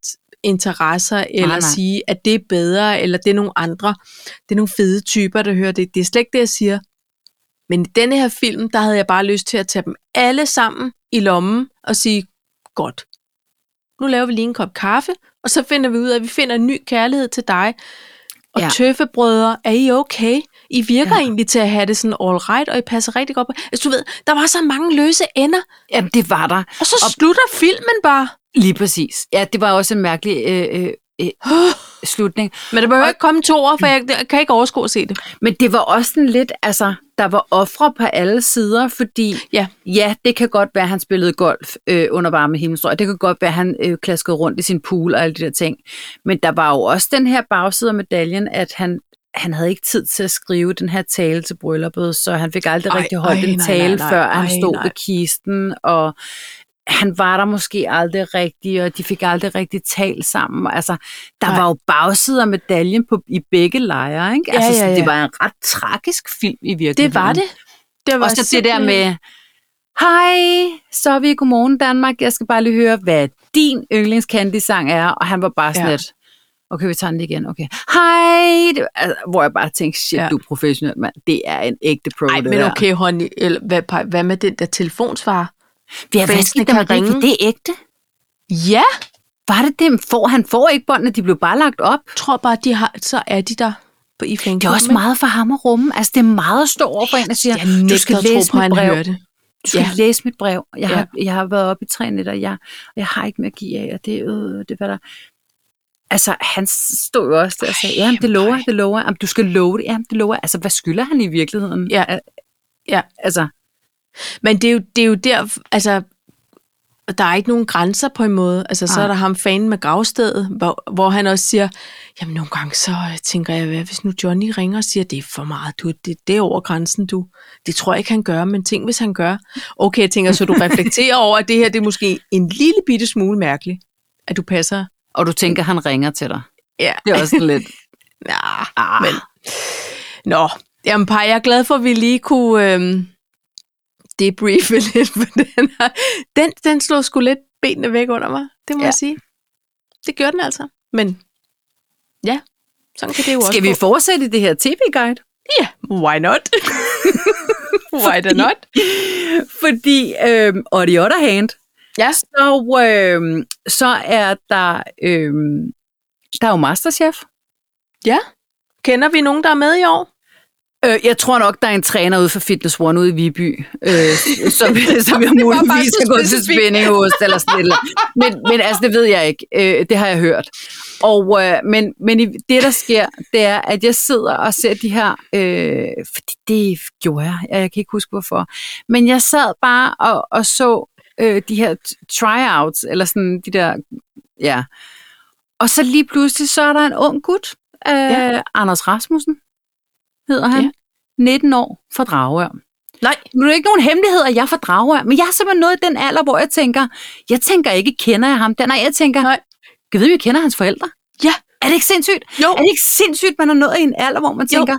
S1: interesser, eller
S2: nej.
S1: sige, at det er bedre, eller det er nogle andre, det er nogle fede typer, der hører det. Det er slet ikke det, jeg siger. Men i denne her film, der havde jeg bare lyst til at tage dem alle sammen i lommen og sige, godt, nu laver vi lige en kop kaffe, og så finder vi ud af, at vi finder en ny kærlighed til dig. Og
S2: Ja.
S1: ja. tøffebrødre, er I okay? I virker
S2: Ja.
S1: ja. egentlig til at have det sådan all right, og I passer rigtig godt på. Altså, du ved, der var så mange løse ender,
S2: Jamen, det var der.
S1: og så og slutter filmen bare.
S2: Lige præcis. Ja, det var også en mærkelig øh, øh, øh, slutning.
S1: Men der behøver ikke komme to år, for jeg, jeg kan ikke overskue at se det.
S2: Men det var også sådan lidt, altså, der var ofre på alle sider, fordi
S1: Ja.
S2: ja, det kan godt være, at han spillede golf øh, under varme himmelstrøg, og det kan godt være, at han øh, klaskede rundt i sin pool og alle de der ting. Men der var jo også den her bagside af medaljen, at han, han havde ikke tid til at skrive den her tale til brylluppet, så han fik aldrig
S1: Ej,
S2: rigtig holdt
S1: ej,
S2: en
S1: nej,
S2: tale,
S1: nej, nej,
S2: før han
S1: ej,
S2: stod
S1: nej.
S2: ved kisten, og han var der måske aldrig rigtig, og de fik aldrig rigtig talt sammen. Altså, der
S1: Nej.
S2: var jo bagsider af medaljen på, i begge lejre, ikke?
S1: Ja,
S2: altså,
S1: ja,
S2: det
S1: ja.
S2: var en ret tragisk film i virkeligheden.
S1: Det var det. det var
S2: Også det der
S1: simpelthen-
S2: med, hej, så er vi i Godmorgen Danmark, jeg skal bare lige høre, hvad din yndlingscandy-sang er, og han var bare sådan
S1: Ja.
S2: ja. lidt, okay, vi tager den lige igen, okay, hej, det, altså, hvor jeg bare tænkte, shit,
S1: Ja.
S2: ja. du er professionel, mand, det er en ægte pro,
S1: Ej,
S2: det
S1: men
S2: der.
S1: okay, Honey, eller hvad, Paj, hvad med den der telefonsvar?
S2: vi har
S1: Fæstene
S2: vasket dem,
S1: kan
S2: rigtigt,
S1: ringe.
S2: det er ægte.
S1: Ja,
S2: Var det dem? Får, han får ikke båndene, de blev bare lagt op.
S1: jeg tror bare, de har, så er de der på i fængsel.
S2: Det er også meget for ham at rumme. Altså, det er meget at stå over for en og sige,
S1: Jeg nægter
S2: du skal
S1: at
S2: læse
S1: tro på, at
S2: mit
S1: han
S2: brev.
S1: hører det.
S2: Du skal
S1: Ja.
S2: ja. læse mit brev. Jeg,
S1: Ja.
S2: ja. har, jeg har været oppe i tre nætter, og jeg, og jeg har ikke mere at give af, og det, øh, det var der. Altså, han stod jo også der og sagde,
S1: Ej,
S2: jamen, det lover
S1: nej.
S2: jeg, det lover jeg. Jamen, du skal love det, jamen, det lover jeg. Altså, hvad skylder han i virkeligheden?
S1: Ja.
S2: Al-
S1: Ja.
S2: Altså,
S1: Men det er, jo, det er jo der, altså, der er ikke nogen grænser på en måde. Altså, så
S2: Nej.
S1: er der ham fanen med gravstedet, hvor, hvor han også siger, jamen nogle gange så øh, tænker jeg, hvad hvis nu Johnny ringer og siger, det er for meget, du, det, det er over grænsen, du. Det tror jeg ikke, han gør, men tænk, hvis han gør. Okay, jeg tænker, så du reflekterer over, at det her, det er måske en lille bitte smule mærkeligt, at du passer.
S2: og du tænker, han ringer til dig.
S1: Ja,
S2: Det er også sådan lidt,
S1: ja.
S2: ah,
S1: Men- Nå, jamen par, jeg er glad for, at vi lige kunne øhm, debriefe lidt på den her. Den, den slog sgu lidt benene væk under mig, det må ja.
S2: Ja.
S1: jeg sige. Det gjorde den altså, men ja, sådan kan det jo
S2: skal
S1: også
S2: vi fortsætte i det her tv-guide?
S1: gå. Ja, why not? why da not?
S2: Fordi, øh, on the other hand,
S1: Ja.
S2: så, øh, så er der, øh, der er jo Masterchef.
S1: ja. Kender vi nogen, der er med i år?
S2: Øh, jeg tror nok, der er en træner ude for Fitness One ude i Viby, øh, som, som jeg muligvis
S1: så
S2: har gået til
S1: specifikt.
S2: spænding hos, eller sådan et eller andet. men, men altså, det ved jeg ikke. Øh, det har jeg hørt. Og, øh, men men i, det, der sker, det er, at jeg sidder og ser de her... Øh, fordi det gjorde jeg. Jeg jeg kan ikke huske, hvorfor. Men jeg sad bare og, og så øh, de her t- tryouts, eller sådan de der... Ja. Og så lige pludselig, så er der en ung gut, øh,
S1: Ja.
S2: ja. Anders Rasmussen, hedder han.
S1: Ja.
S2: Ja. 19 år fra Dragør.
S1: Nej.
S2: Nu er det ikke nogen hemmelighed, at jeg er fra Dragør, men jeg er simpelthen nået i den alder, hvor jeg tænker, jeg tænker ikke, kender jeg ham der? Nej, jeg tænker,
S1: Nej.
S2: kan vide, om jeg kender hans forældre?
S1: Ja.
S2: Er det ikke sindssygt?
S1: Jo,
S2: Er det ikke sindssygt, man er nået i en alder, hvor man
S1: Jo.
S2: tænker,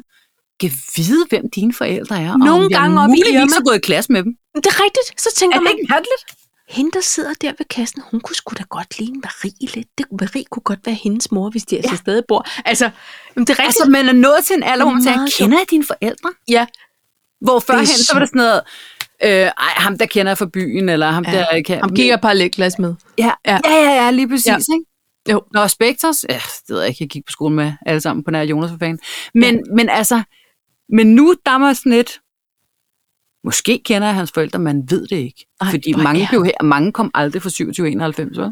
S2: kan vide, hvem dine forældre er? og
S1: Nogle
S2: om jeg
S1: gange op i
S2: muligvis
S1: Irma.
S2: har gået i klasse med dem.
S1: det er rigtigt. Så
S2: Er
S1: tænker
S2: det
S1: man,
S2: ikke mærkeligt?
S1: hende der sidder der ved kassen, hun kunne sgu da godt ligne Marie lidt. Det, Marie kunne godt være hendes mor, hvis de altså ja. stadig bor. Altså, jamen, det er rigtigt.
S2: Altså, man er nået til en alder, hvor man tænker,
S1: Meget sjovt.
S2: kender jeg dine forældre?
S1: Ja.
S2: Hvor førhen, så var
S1: sygt.
S2: det sådan noget, øh, ej, ham der kender jeg fra byen, eller ham
S1: Ja.
S2: ja. der jeg kan...
S1: Ham gik jeg parallelklasse med.
S2: Ja,
S1: Ja.
S2: ja, ja, ja lige præcis.
S1: Ja.
S2: Ja. Ikke?
S1: Jo.
S2: Nå, Spectres, ja, det ved jeg ikke, jeg gik på skole med alle sammen på nær Jonas for fanden. Men, ja. men altså, men nu der er man sådan lidt, måske kender jeg hans forældre, man ved det ikke.
S1: Ej,
S2: Ej, fordi
S1: hvor
S2: mange
S1: er-
S2: blev her, mange kom aldrig fra 2791, vel?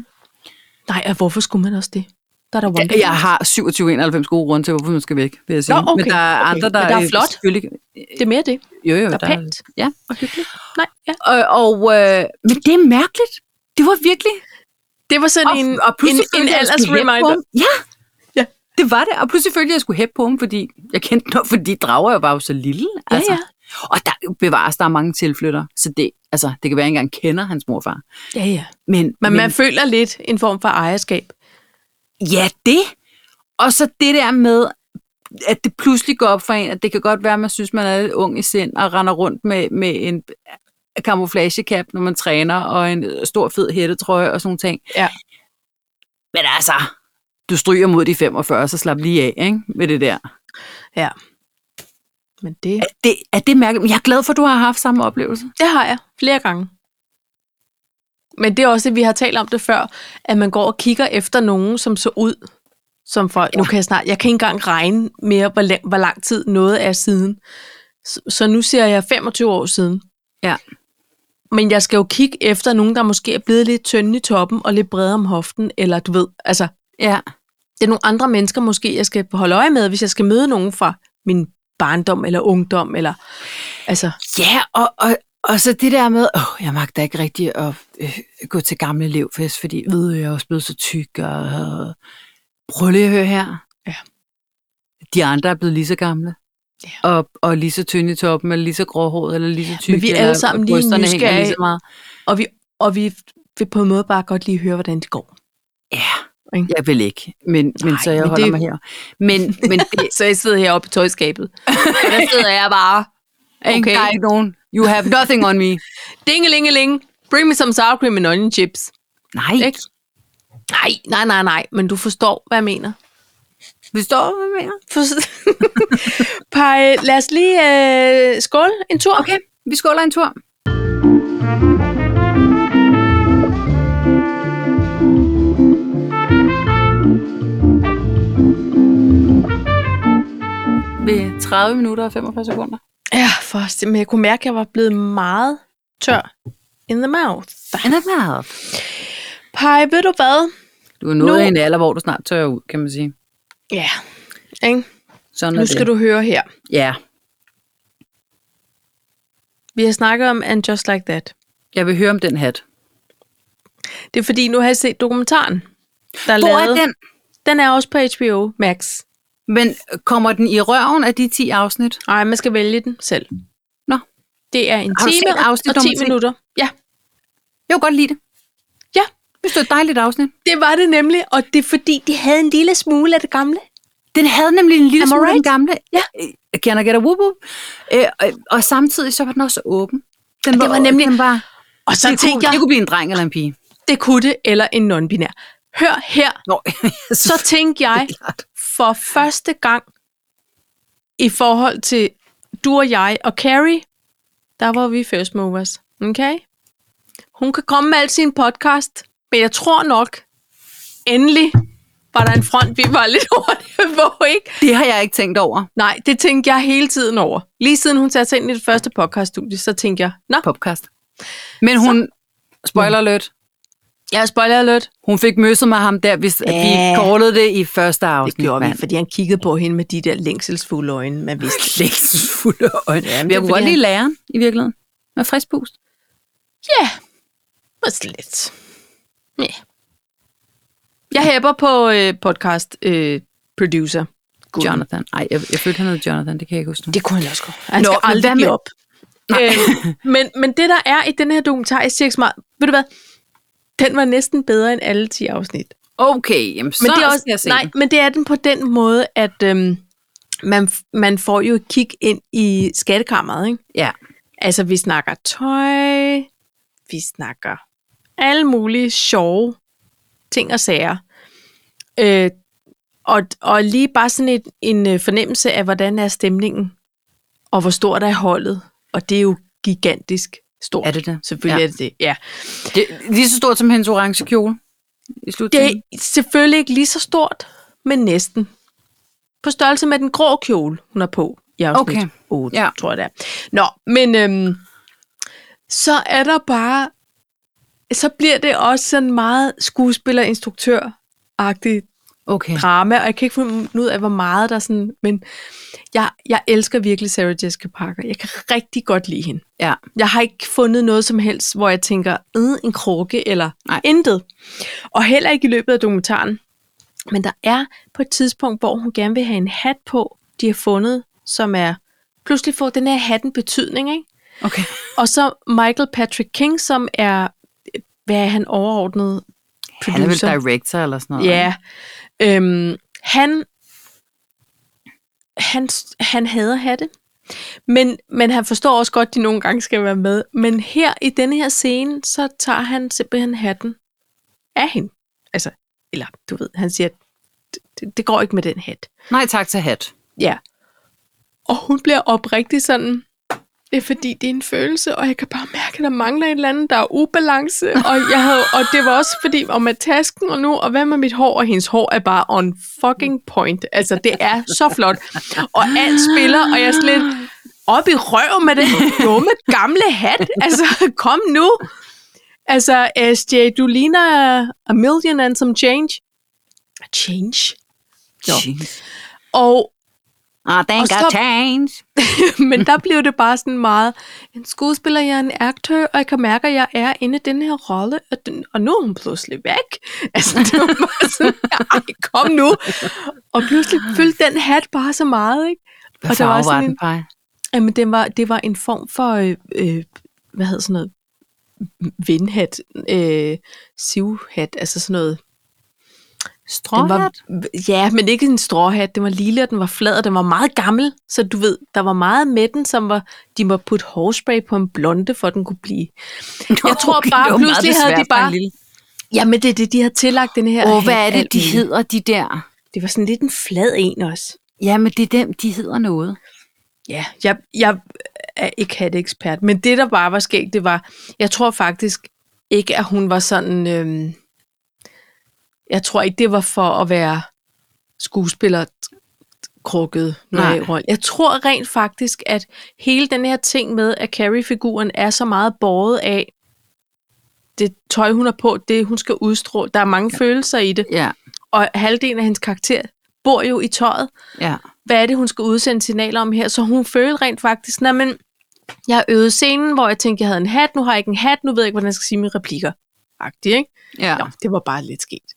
S1: Nej, og hvorfor skulle man også det? Der er der
S2: Jeg, jeg har 2791 gode grunde til, hvorfor man skal væk, vil jeg sige.
S1: Nå, okay,
S2: men der er
S1: okay.
S2: andre, der,
S1: Men der er
S2: øh,
S1: flot.
S2: selvfølgelig-
S1: Det er mere det.
S2: Jo, jo,
S1: Der er pænt
S2: Ja.
S1: og hyggeligt. Nej, ja.
S2: Og, og øh, men det er mærkeligt. Det var virkelig
S1: Det var sådan en, en, en
S2: følte jeg, jeg skulle hæppe på
S1: aldersreminder.
S2: ham. Ja.
S1: Ja.
S2: ja, det var det. Og pludselig følte jeg, at jeg skulle hæppe på ham, fordi jeg kendte noget, fordi drager jo var jo så lille. Altså.
S1: ja.
S2: Og der bevares, der er mange tilflytter, så det, altså, det kan være, at jeg ikke engang kender hans morfar.
S1: Ja, ja.
S2: Men,
S1: Men,
S2: men
S1: man føler lidt en form for ejerskab.
S2: ja, det. Og så det der med, at det pludselig går op for en, at det kan godt være, at man synes, man er lidt ung i sind og render rundt med, med en camouflagecap, når man træner, og en øh, stor fed hættetrøje og sådan nogle ting.
S1: Ja.
S2: Men altså, du stryger mod de 45, så slap lige af ikke? med det der.
S1: Ja. Men det,
S2: Er det, er det mærkeligt? Men jeg er glad for, at du har haft samme oplevelse.
S1: det har jeg flere gange. Men det er også det, vi har talt om det før, at man går og kigger efter nogen, som så ud som folk. Nu kan jeg snart, jeg kan ikke engang regne mere, hvor, lang, hvor lang tid noget er siden. Så, så nu ser jeg 25 år siden.
S2: Ja.
S1: Men jeg skal jo kigge efter nogen, der måske er blevet lidt tynde i toppen og lidt bredere om hoften, eller du ved, altså,
S2: Ja.
S1: det er nogle andre mennesker måske, jeg skal holde øje med, hvis jeg skal møde nogen fra min barndom eller ungdom. Eller, altså,
S2: Ja, og, og, og så det der med, åh, jeg magter ikke rigtig at øh, gå til gamle elevfest, fordi ved øh, jeg er også blevet så tyk, og øh, prøv lige at høre her.
S1: Ja.
S2: De andre er blevet lige så gamle.
S1: Ja.
S2: Og, og lige så tynde i toppen, eller lige så gråhåret, eller lige så tykke.
S1: vi er
S2: eller-
S1: alle sammen
S2: og
S1: lige
S2: brysterne hænger ligesom.
S1: nysgerrige.
S2: Lige så meget.
S1: og, vi, og vi vil på en måde bare godt lige høre, hvordan det går.
S2: Ja,
S1: Ikke?
S2: jeg vil ikke, men, men
S1: Nej,
S2: så jeg
S1: men
S2: holder
S1: det-
S2: det... mig her. Men, men det,
S1: Så jeg sidder heroppe i tøjskabet. Og der sidder jeg bare,
S2: okay. der er ikke nogen. You have nothing on me.
S1: dingelingeling, bring me some sour cream and onion chips.
S2: Nej,
S1: Ikke? Nej, nej, nej, nej, men du forstår, hvad jeg mener.
S2: forstår du, hvad jeg mener?
S1: For... Paj, lad os lige øh, skåle en tur.
S2: Okay, vi skåler en tur. Ved 30 minutter og 45 sekunder.
S1: Ja, for, men jeg kunne mærke, at jeg var blevet meget tør in the mouth.
S2: Han er meget.
S1: Paj, ved du hvad?
S2: Du er nået
S1: Nu-
S2: i en alder, hvor du snart tør ud, kan man sige.
S1: Ja, ikke?
S2: Sådan er
S1: nu skal
S2: det.
S1: du høre her.
S2: Ja,
S1: Vi har snakket om And Just Like That.
S2: jeg vil høre om den hat.
S1: Det er fordi, nu har jeg set dokumentaren, der er
S2: Hvor er
S1: lavet.
S2: den?
S1: Den er også på HBO Max.
S2: Men kommer den i røven af de 10 afsnit?
S1: Nej, man skal vælge den selv.
S2: Nå.
S1: Det er en
S2: Har du
S1: time
S2: set afsnit
S1: og 10
S2: nummer 10?
S1: minutter. Ja,
S2: Jeg kunne godt lide det.
S1: Ja.
S2: Hvis det er et dejligt afsnit.
S1: det var det nemlig. Og det er fordi, de havde en lille smule af det gamle.
S2: Den havde nemlig en lille
S1: Am I
S2: smule right?
S1: right?
S2: den gamle.
S1: Ja.
S2: Øh, Can I get a whoop whoop? Øh, og, og samtidig så var den også åben. Den
S1: var nemlig-
S2: Den var,
S1: Og så
S2: det, kunne,
S1: tænkte jeg,
S2: det kunne blive en dreng eller en pige.
S1: det kunne det, eller en non-binær. Hør her,
S2: Nå,
S1: så tænkte jeg
S2: klart.
S1: for første gang i forhold til du og jeg og Carrie, der var vi first movers. Okay? Hun kan komme med al sin podcast, men jeg tror nok, endelig var der en front, vi var lidt hurtige på, ikke?
S2: Det har jeg ikke tænkt over.
S1: Nej, det tænkte jeg hele tiden over. Lige siden hun satte sig ind i det første podcaststudie, så tænkte jeg, nå,
S2: Podcast. Men hun, spoiler alert,
S1: jeg er spoiler alert.
S2: hun fik møsset med ham der, hvis ja.
S1: Ja.
S2: vi callede det i første afsnit. mand.
S1: fordi han kiggede på hende med de der længselsfulde øjne, man vidste.
S2: Længselsfulde øjne.
S1: men
S2: Ja, men
S1: det er
S2: jeg kunne godt
S1: fordi,
S2: lide læreren i virkeligheden. Med frisk pust.
S1: Ja, måske lidt. Ja. Jeg hæpper på øh, podcast øh, producer. God.
S2: Jonathan. Nej, jeg, jeg følte, han hed Jonathan. Det kan jeg ikke huske. nu.
S1: Det kunne han også godt. Han
S2: Nå,
S1: skal
S2: men
S1: aldrig
S2: hvad
S1: give
S2: med-
S1: op. Øh, men, men det, der er i den her dokumentar, jeg siger ikke så meget. Ved du hvad? Den var næsten bedre end alle 10 afsnit.
S2: Okay, jamen, så
S1: men det er
S2: skal jeg
S1: også,
S2: se
S1: nej,
S2: den.
S1: men det er den på den måde, at øhm, man, man får jo et kig ind i skattekammeret. Ikke?
S2: Ja.
S1: Altså, vi snakker tøj, vi snakker alle mulige sjove ting og sager. Øh, og, og lige bare sådan et, en øh, fornemmelse af, hvordan er stemningen, og hvor stort er holdet. Og det er jo gigantisk stort.
S2: Er det det?
S1: Selvfølgelig ja.
S2: Ja.
S1: er det det, ja.
S2: Det, lige så stort som hendes orange kjole i slutningen.
S1: Det er selvfølgelig ikke lige så stort, men næsten. På størrelse med den grå kjole, hun har på i afsnit okay.
S2: Okay.
S1: 8, ja.
S2: Ja.
S1: tror jeg det er. Nå, men øhm, så er der bare... Så bliver det også sådan meget skuespiller-instruktør-agtigt
S2: Okay.
S1: drama, og jeg kan ikke finde ud af, hvor meget der er sådan... Men jeg, jeg elsker virkelig Sarah Jessica Parker. Jeg kan rigtig godt lide hende.
S2: Ja.
S1: Jeg har ikke fundet noget som helst, hvor jeg tænker, øh, en krukke eller Nej.
S2: Nej.
S1: intet. Og heller ikke i løbet af dokumentaren. Men der er på et tidspunkt, hvor hun gerne vil have en hat på, de har fundet, som er... Pludselig får den her hatten betydning, ikke?
S2: Okay.
S1: Og så Michael Patrick King, som er... Hvad er han overordnet?
S2: Han er vel director eller sådan noget.
S1: Ja. Øhm, han, han, han hader hatte. Men, men han forstår også godt, at de nogle gange skal være med. Men her i denne her scene, så tager han simpelthen hatten af hende. Altså, eller du ved, han siger, "Det- det, det går ikke med den hat.
S2: Nej, tak til hat.
S1: Ja. Og hun bliver oprigtig sådan, det er fordi, det er en følelse, og jeg kan bare mærke, at der mangler et eller andet, der er ubalance. Og, jeg havde, og det var også fordi, og med tasken og nu, og hvad med mit hår? Og hendes hår er bare on fucking point. Altså, det er så flot. Og alt spiller, og jeg er sådan lidt op i røv med den dumme gamle hat. Altså, kom nu. øh, Altså, SJ, du ligner a million and some change. Change?
S2: Jeez.
S1: Og
S2: Ah, thank
S1: Og
S2: God
S1: stop.
S2: change.
S1: Men der blev det bare sådan meget, en skuespiller, jeg er en aktør, og jeg kan mærke, at jeg er inde i den her rolle, og, den, og nu er hun pludselig væk. Altså, det var bare sådan, ej, kom nu. Og pludselig fyldte den hat bare så meget, ikke?
S2: Hvad
S1: Og der var
S2: farve var
S1: sådan
S2: den,
S1: en-
S2: Paj?
S1: Jamen, det var, det var en form for, øh, øh, hvad hedder sådan noget, vindhat, øh, sivhat, altså sådan noget. Den var,
S2: Stråhat?
S1: ja, men ikke en stråhat. Den var lille, og den var flad, og den var meget gammel. Så du ved, der var meget med den, som var, de må putte hårspray på en blonde, for at den kunne blive.
S2: Nå,
S1: jeg tror bare,
S2: det var meget
S1: pludselig havde
S2: besværligt
S1: de bare-
S2: for en lille-
S1: Jamen, det er det, de har tillagt den her.
S2: Åh,
S1: hat
S2: hvad er det,
S1: alt
S2: de
S1: muligt.
S2: hedder, de der?
S1: Det var sådan lidt en flad en også.
S2: Ja, men det er dem, de hedder noget.
S1: Ja, jeg, jeg er ikke hatteekspert, men det, der bare var sket, det var, jeg tror faktisk ikke, at hun var sådan, øhm, jeg tror ikke, det var for at være skuespiller krukket
S2: Nej.
S1: rolle. Jeg tror rent faktisk, at hele den her ting med, at Carrie-figuren er så meget båret af det tøj, hun har på, det hun skal udstråle. Der er mange ja. følelser i det,
S2: Ja,
S1: og halvdelen af hendes karakter bor jo i tøjet
S2: ja.
S1: hvad er det, hun skal udsende signaler om her? Så hun følte rent faktisk, nej, men jeg øvede scenen, hvor jeg tænkte, jeg havde en hat, nu har jeg ikke en hat, nu ved jeg ikke, hvordan jeg skal sige mine replikker. Agtig, ikke?
S2: ja.
S1: Ja. Nå, det var bare lidt sket.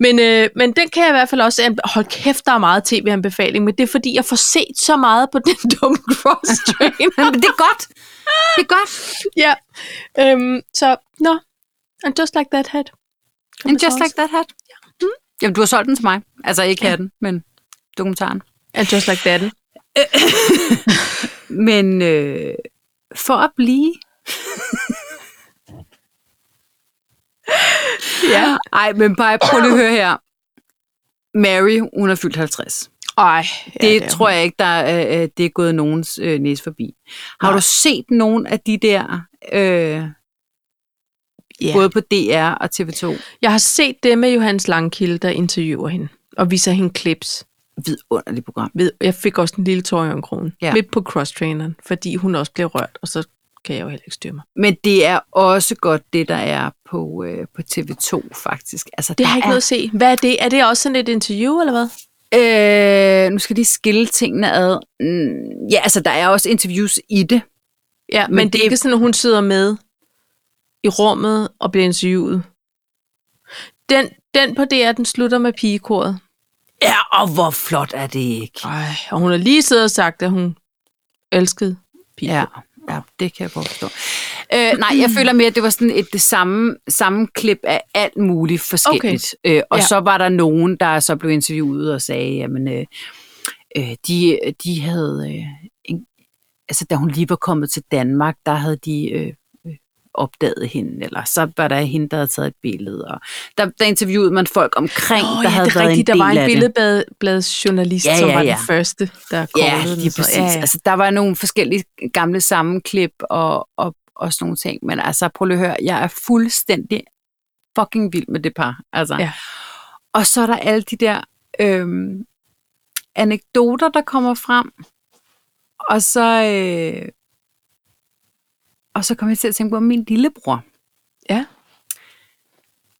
S1: Men, øh, men den kan jeg i hvert fald også, anbe- hold kæft, der er meget tv-anbefaling, men det er fordi, jeg får set så meget på den dumme cross-train.
S2: Men det er godt. Det er godt.
S1: ja. Øhm, så, nå, no. and just like that hat.
S2: And just like that hat. Hmm? Jamen, du har solgt den til mig. Altså ikke hatten, men dokumentaren.
S1: And just like that.
S2: Men øh, for at blive...
S1: Ja.
S2: Ej, men bare prøv lige at høre her. Mary, hun er fyldt 50.
S1: Ej,
S2: Ja, det, det tror jeg ikke, der er, øh, det er gået nogens øh, næse forbi. Har
S1: Nej.
S2: du set nogen af de der, øh,
S1: Ja.
S2: både på DR og TV2?
S1: Jeg har set det med Johannes Langkilde, der interviewer hende og viser hende clips.
S2: Vidunderligt program.
S1: Ved- Jeg fik også en lille tår i øjenkrogen.
S2: Ja.
S1: Ja. Midt på crosstraineren, fordi hun også blev rørt, og så kan jeg jo heller ikke styre mig.
S2: Men det er også godt, det der er på, øh, på TV2, faktisk. Altså,
S1: Det
S2: der
S1: har jeg ikke
S2: er
S1: noget at se. Hvad er det? Er det også sådan et interview, eller hvad?
S2: Øh, nu skal de skille tingene ad. Mm, ja, altså, der er også interviews i det.
S1: Ja, men,
S2: Men
S1: men det, det
S2: det-
S1: er ikke sådan, at hun sidder med i rummet og bliver interviewet. Den, den på DR, den slutter med pigekoret.
S2: Ja, og hvor flot er det ikke?
S1: Ej, og hun har lige siddet og sagt, at hun elskede piger.
S2: Ja, ja det kan jeg godt forstå. Øh, nej, jeg føler mere, at det var sådan et det samme, samme klip af alt muligt forskelligt. Okay. Øh, og ja.
S1: Ja.
S2: så var der nogen, der så blev interviewet og sagde, jamen, øh, øh, de, de havde... Øh, en, altså, da hun lige var kommet til Danmark, der havde de... Øh, øh, opdaget hende, eller så var der hende, der havde taget et billede. Og der, der interviewede man folk omkring,
S1: Nå,
S2: der
S1: ja,
S2: havde
S1: det er
S2: været
S1: rigtigt.
S2: en del
S1: der var
S2: af
S1: en
S2: det.
S1: billedbladsjournalist,
S2: Ja,
S1: ja, som
S2: ja,
S1: var
S2: ja.
S1: den første, der
S2: Ja,
S1: callede den,
S2: lige
S1: så-
S2: præcis. Ja, ja. Altså, der var nogle forskellige gamle sammenklip og, og, og sådan nogle ting. Men altså, prøv lige at høre, jeg er fuldstændig fucking vild med det par. Altså.
S1: Ja.
S2: Og så er der alle de der øhm, anekdoter, der kommer frem. Og så, øh, og så kom jeg til at tænke på, at min lillebror
S1: ja.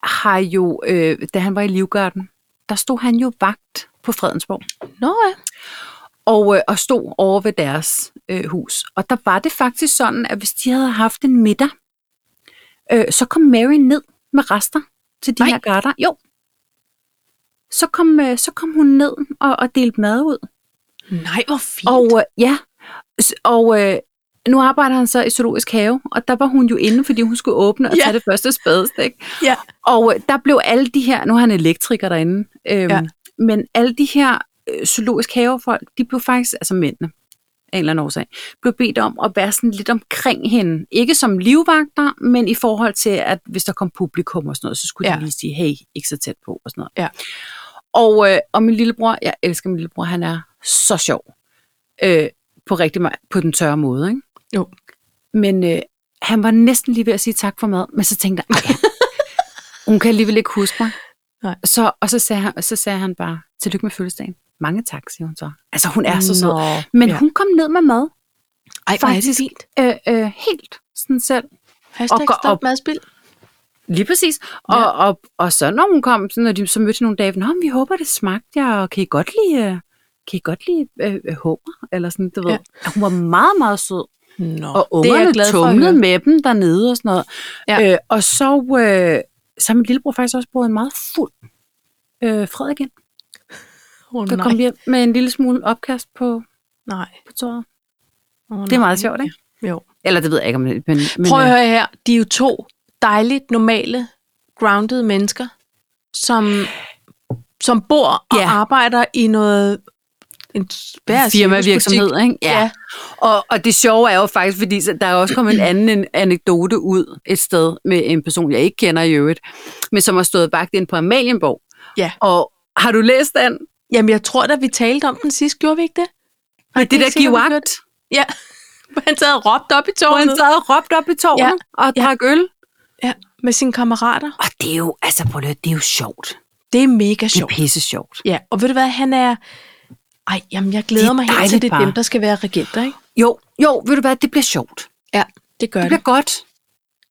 S2: har jo, øh, da han var i Livgarden, der stod han jo vagt på Fredensborg.
S1: Nå ja.
S2: og, øh, og stod over ved deres øh, hus. Og der var det faktisk sådan, at hvis de havde haft en middag, øh, så kom Mary ned med rester til de
S1: Nej.
S2: Nej. her garter. Jo. Så kom, øh, så kom hun ned og, og delte mad ud.
S1: Nej, hvor fint.
S2: Og øh, ja, S- og øh, nu arbejder han så i zoologisk have, og der var hun jo inde, fordi hun skulle åbne og
S1: Ja.
S2: tage det første spadestik.
S1: ja.
S2: Og øh, der blev alle de her, nu er han elektriker derinde, øhm, ja.
S1: Ja.
S2: men alle de her øh, zoologisk havefolk, de blev faktisk, altså mændene af en eller anden årsag, blev bedt om at være sådan lidt omkring hende. Ikke som livvagter, men i forhold til, at hvis der kom publikum og sådan noget, så skulle ja. de
S1: Ja.
S2: lige sige, hey, ikke så tæt på og sådan noget.
S1: Ja.
S2: Og, øh, og min lillebror, jeg elsker min lillebror, han er så sjov. Øh, på rigtig meget, på den tørre måde, ikke?
S1: Jo.
S2: Men øh, han var næsten lige ved at sige tak for mad, men så tænkte jeg, "Ej, hun kan alligevel ikke huske mig.
S1: Nej.
S2: Så, og så sagde, han, og så sagde han bare, tillykke med fødselsdagen. Mange tak, siger hun så. Altså, hun er så sød.
S1: Nå,
S2: Men
S1: ja.
S2: hun kom ned med mad,
S1: Ej, hvor er det
S2: faktisk-
S1: fint.
S2: øh, øh, helt sådan selv.
S1: Hashtag
S2: og går
S1: stop
S2: op.
S1: madspild.
S2: Lige præcis. Og, ja. og, og, og så når hun kom, så, når de, så mødte nogle dage, Nå, men vi håber, det smagte jer, og kan I godt lide, øh, kan I godt lide øh, øh, hummer? Eller sådan, du ved.
S1: Ja.
S2: Ja. Hun var meget, meget sød.
S1: Nå,
S2: Og
S1: det er jeg glad
S2: ungerne
S1: for at høre.
S2: tumlede med dem dernede og sådan noget.
S1: Ja.
S2: Øh, og så, øh, så har min lillebror faktisk også brugt en meget fuld øh, Frederik ind.
S1: Åh,
S2: Der
S1: nej.
S2: kom hjem med en lille smule opkast på,
S1: nej.
S2: på tåret.
S1: Oh,
S2: Det er meget sjovt, ikke?
S1: Jo.
S2: Eller det ved jeg ikke, om det men, men,
S1: Prøv at
S2: øh,
S1: høre her. De er jo to dejligt normale, grounded mennesker, som, som bor og
S2: Ja.
S1: arbejder i noget... En svær
S2: firmavirksomhed, ikke?
S1: Ja. ja.
S2: Og, og det sjove er jo faktisk, fordi så- der er også kommet en anden en- anekdote ud et sted med en person, jeg ikke kender i øvrigt, men som har stået vagt ind på Amalienborg.
S1: Ja.
S2: Og har du læst den?
S1: Jamen, jeg tror da, vi talte om den sidst. Gjorde vi ikke det?
S2: Med det
S1: er
S2: der
S1: ikke sikkert, vi gjorde
S2: givagt,
S1: Ja. Han sad og råbte op i
S2: hvor han
S1: tårnet
S2: sad og råbte op i tårnet ja. og
S1: Ja.
S2: drak øl.
S1: ja, med sine kammerater.
S2: Og det er jo, altså prøv lige, at- det er jo sjovt.
S1: Det er mega
S2: Det er
S1: sjovt.
S2: pisse sjovt.
S1: Ja, og ved du hvad, han er... Ej, jamen, jeg
S2: Det
S1: glæder
S2: er
S1: mig helt til,
S2: dejligt
S1: det er dem,
S2: bare.
S1: der skal være regenter, ikke?
S2: Jo, jo, ved du hvad, det bliver sjovt.
S1: Ja, det gør
S2: Det
S1: det.
S2: bliver godt.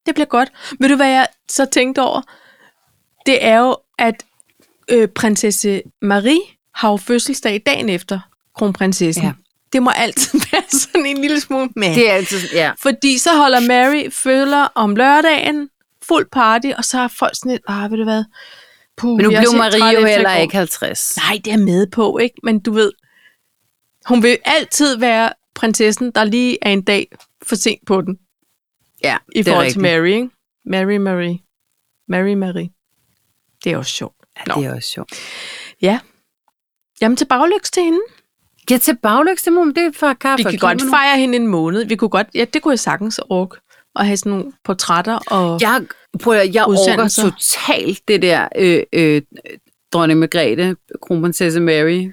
S1: Det bliver godt. Ved du, hvad jeg så tænkte over? Det er jo, at øh, prinsesse Marie har jo fødselsdag dagen efter kronprinsessen. Ja.
S2: Ja.
S1: Det må altid være sådan en lille smule med.
S2: Det er altid, ja.
S1: Fordi så holder Mary følger om lørdagen, fuld party, og så er folk sådan lidt, ah, ved du hvad? Puh,
S2: Men nu
S1: vi er også
S2: blev
S1: helt
S2: Marie
S1: trætte
S2: jo
S1: efter i
S2: heller
S1: går."
S2: ikke 50.
S1: Nej, det er jeg med på, ikke? Men du ved, hun vil altid være prinsessen, der lige er en dag for sent på den
S2: Ja,
S1: i
S2: det er
S1: forhold til
S2: rigtigt.
S1: Mary, ikke? Mary Marie. Mary Marie. Det er også sjovt.
S2: Ja, det er også sjovt.
S1: Ja. Jamen til baglyks til hende.
S2: Ja, til baglyks, det må det er for kaffe.
S1: Vi kan godt fejre hende en måned. Vi kunne godt, ja, det kunne jeg sagtens orke. Og have sådan nogle portrætter. Og,
S2: Jeg, prøv at, høre, jeg orker
S1: Udsendelser.
S2: totalt det der øh, øh, dronning Margrethe, kronprinsesse Mary,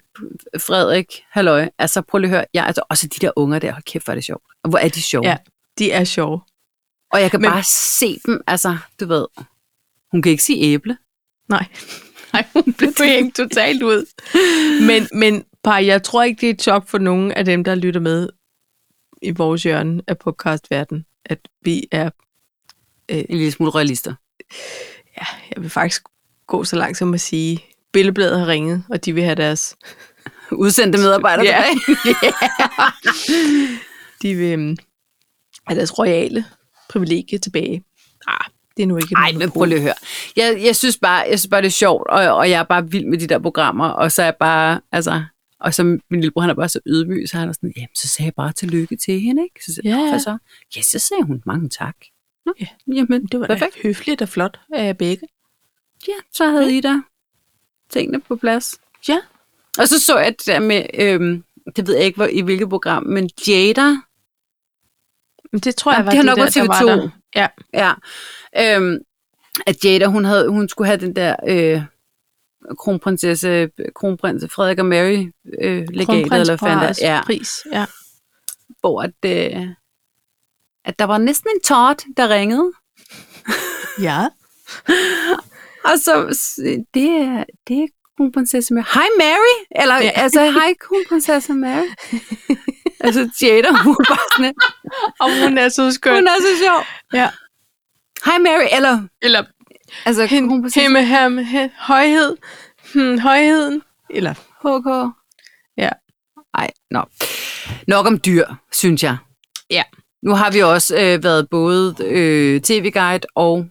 S2: Frederik, halløj. Altså prøv lige at høre, jeg, altså, også de der unger der, hold kæft, hvor er det sjovt. Og Hvor er de sjove.
S1: ja, de er sjove.
S2: Og jeg kan
S1: Men-
S2: Men... bare se dem, altså, du ved. Hun kan ikke sige æble.
S1: Nej. Nej, hun blev hængt totalt ud. Men, men par, jeg tror ikke, det er et chok for nogen af dem, der lytter med i vores hjørne af podcastverden, at vi er,
S2: En lille smule realister.
S1: jeg vil faktisk gå så langt som at sige, billedbladet har ringet, og de vil have deres
S2: Udsendte medarbejdere
S1: Ja.
S2: yeah. tilbage.
S1: de vil øhm, have deres royale privilegie tilbage. Ah, det er nu ikke...
S2: Nej, men prøv lige at høre. Jeg, jeg, synes bare, jeg synes bare, det er sjovt, og, og jeg er bare vild med de der programmer, og så er jeg bare, altså, og så min lillebror, han er bare så ydmyg, så han er sådan, jamen, så sagde jeg bare tillykke til hende, ikke? Så,
S1: Ja,
S2: ja.
S1: ja.
S2: Hvad så? Ja, så sagde hun, mange tak. Nå,
S1: Ja.
S2: ja. Jamen,
S1: Det var da
S2: perfekt.
S1: høfligt og flot af jer begge.
S2: Ja, så havde I da tingene på plads.
S1: Ja.
S2: Og så så jeg det der med, øhm, det ved jeg ikke, hvor, i hvilket program, men Jada,
S1: Men det tror jeg
S2: Jamen,
S1: var
S2: det har
S1: det
S2: nok
S1: der,
S2: været
S1: der var
S2: TV2.
S1: der. Ja,
S2: Ja. Øhm, at Jada, hun, havde, hun skulle have den der øh, kronprinsesse, kronprins Frederik og Mary øh, legat, eller hvad fanden
S1: kronprinsparrets
S2: der, ja,
S1: pris. Ja.
S2: hvor at, øh, at der var næsten en tårt, der ringede.
S1: ja.
S2: Og så, s- det er, det er kronprinsesse Mary. Hej Mary! Eller,
S1: Ja.
S2: ja. altså, hej kronprinsesse Mary. altså, Jada, hun er bare sådan,
S1: Og hun er så skøn.
S2: hun er så sjov.
S1: Ja.
S2: Hej Mary, eller,
S1: Eller
S2: altså,
S1: hende,
S2: kronprinsesse
S1: hende, ham, he, højhed. Hmm, højheden. Eller,
S2: HK.
S1: Ja.
S2: Ej, nå. Nok om dyr, synes jeg.
S1: Ja.
S2: Nu har vi også øh, været både øh, tv-guide og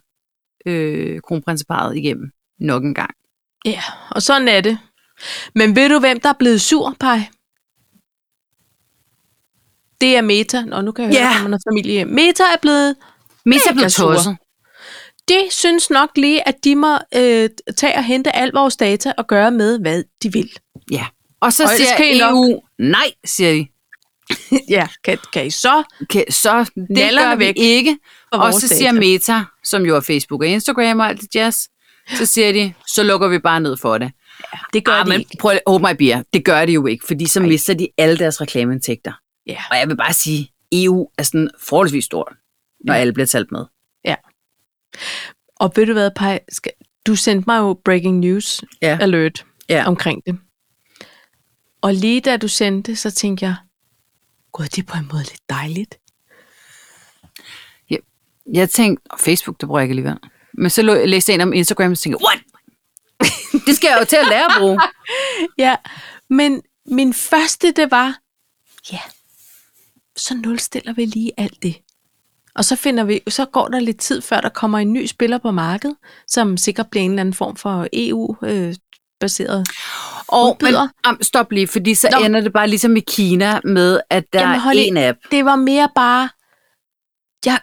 S2: øh, kronprinseparet igennem nok en gang.
S1: ja, og sådan er det. Men ved du, hvem der er blevet sur, Paj? Det er Meta. Nå, nu kan jeg høre,
S2: Ja.
S1: at der kommer noget familie hjem. Meta er blevet
S2: Mest er
S1: Mega
S2: blevet
S1: sure.
S2: tosset.
S1: De synes nok lige, at de må øh, tage og hente al vores data og gøre med, hvad de vil.
S2: Ja. Og så
S1: Og
S2: og
S1: ellers
S2: siger
S1: kan I nok-
S2: EU, nej, siger de.
S1: ja, kan, kan I så?
S2: Okay, så det
S1: Nallerne
S2: gør vi
S1: væk
S2: ikke.
S1: fra
S2: Og
S1: vores
S2: så siger
S1: data.
S2: Meta, som jo er Facebook og Instagram og alt det jazz, så siger de, så lukker vi bare ned for det.
S1: Det gør
S2: ah,
S1: de
S2: men
S1: ikke.
S2: prøv at hold mig bier. Det gør de jo ikke, fordi så mister de alle deres reklameindtægter.
S1: Ja.
S2: Og jeg vil bare sige,
S1: E
S2: EU er sådan forholdsvis stor, når alle bliver talt med.
S1: Og ved du hvad, Paj? Skal, du sendte mig jo breaking news
S2: Ja.
S1: alert
S2: Ja.
S1: omkring det. Og lige da du sendte det, så tænkte jeg, gud, det er på en måde lidt dejligt.
S2: Jeg tænkte, og Facebook, det bruger jeg ikke alligevel. Men så lå- læste jeg en om Instagram, og så tænkte jeg, what? det skal jeg jo til at lære at bruge.
S1: Ja, men min første, det var, ja, så nulstiller vi lige alt det. Og så, finder vi, så går der lidt tid, før der kommer en ny spiller på markedet, som sikkert bliver en eller anden form for E EU-baseret.
S2: Og, men,
S1: Udbyder.
S2: am, stop lige, fordi så
S1: Nå.
S2: Nå. ender det bare ligesom i Kina med, at der
S1: Jamen,
S2: Jamen, er
S1: hold i.
S2: en app.
S1: Det var mere bare, jeg,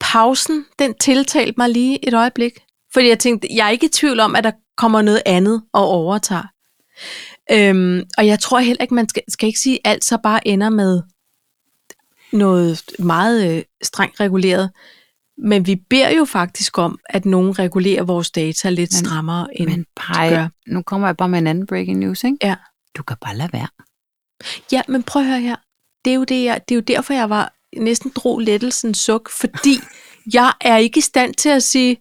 S1: pausen, den tiltalte mig lige et øjeblik. Fordi jeg tænkte, jeg er ikke i tvivl om, at der kommer noget andet og overtager. Øhm, og jeg tror heller ikke, man skal, skal ikke sige, at alt så bare ender med noget meget øh, strengt reguleret. Men vi beder jo faktisk om, at nogen regulerer vores data lidt
S2: Men-
S1: strammere end...
S2: Men pej,
S1: gør.
S2: nu kommer jeg bare med en anden breaking news, ikke?
S1: Ja.
S2: Du kan bare lade være.
S1: Ja, men prøv at høre her. Det er jo, det, jeg, det er jo derfor, jeg var næsten drog lettelsen suk, fordi jeg er ikke i stand til at sige,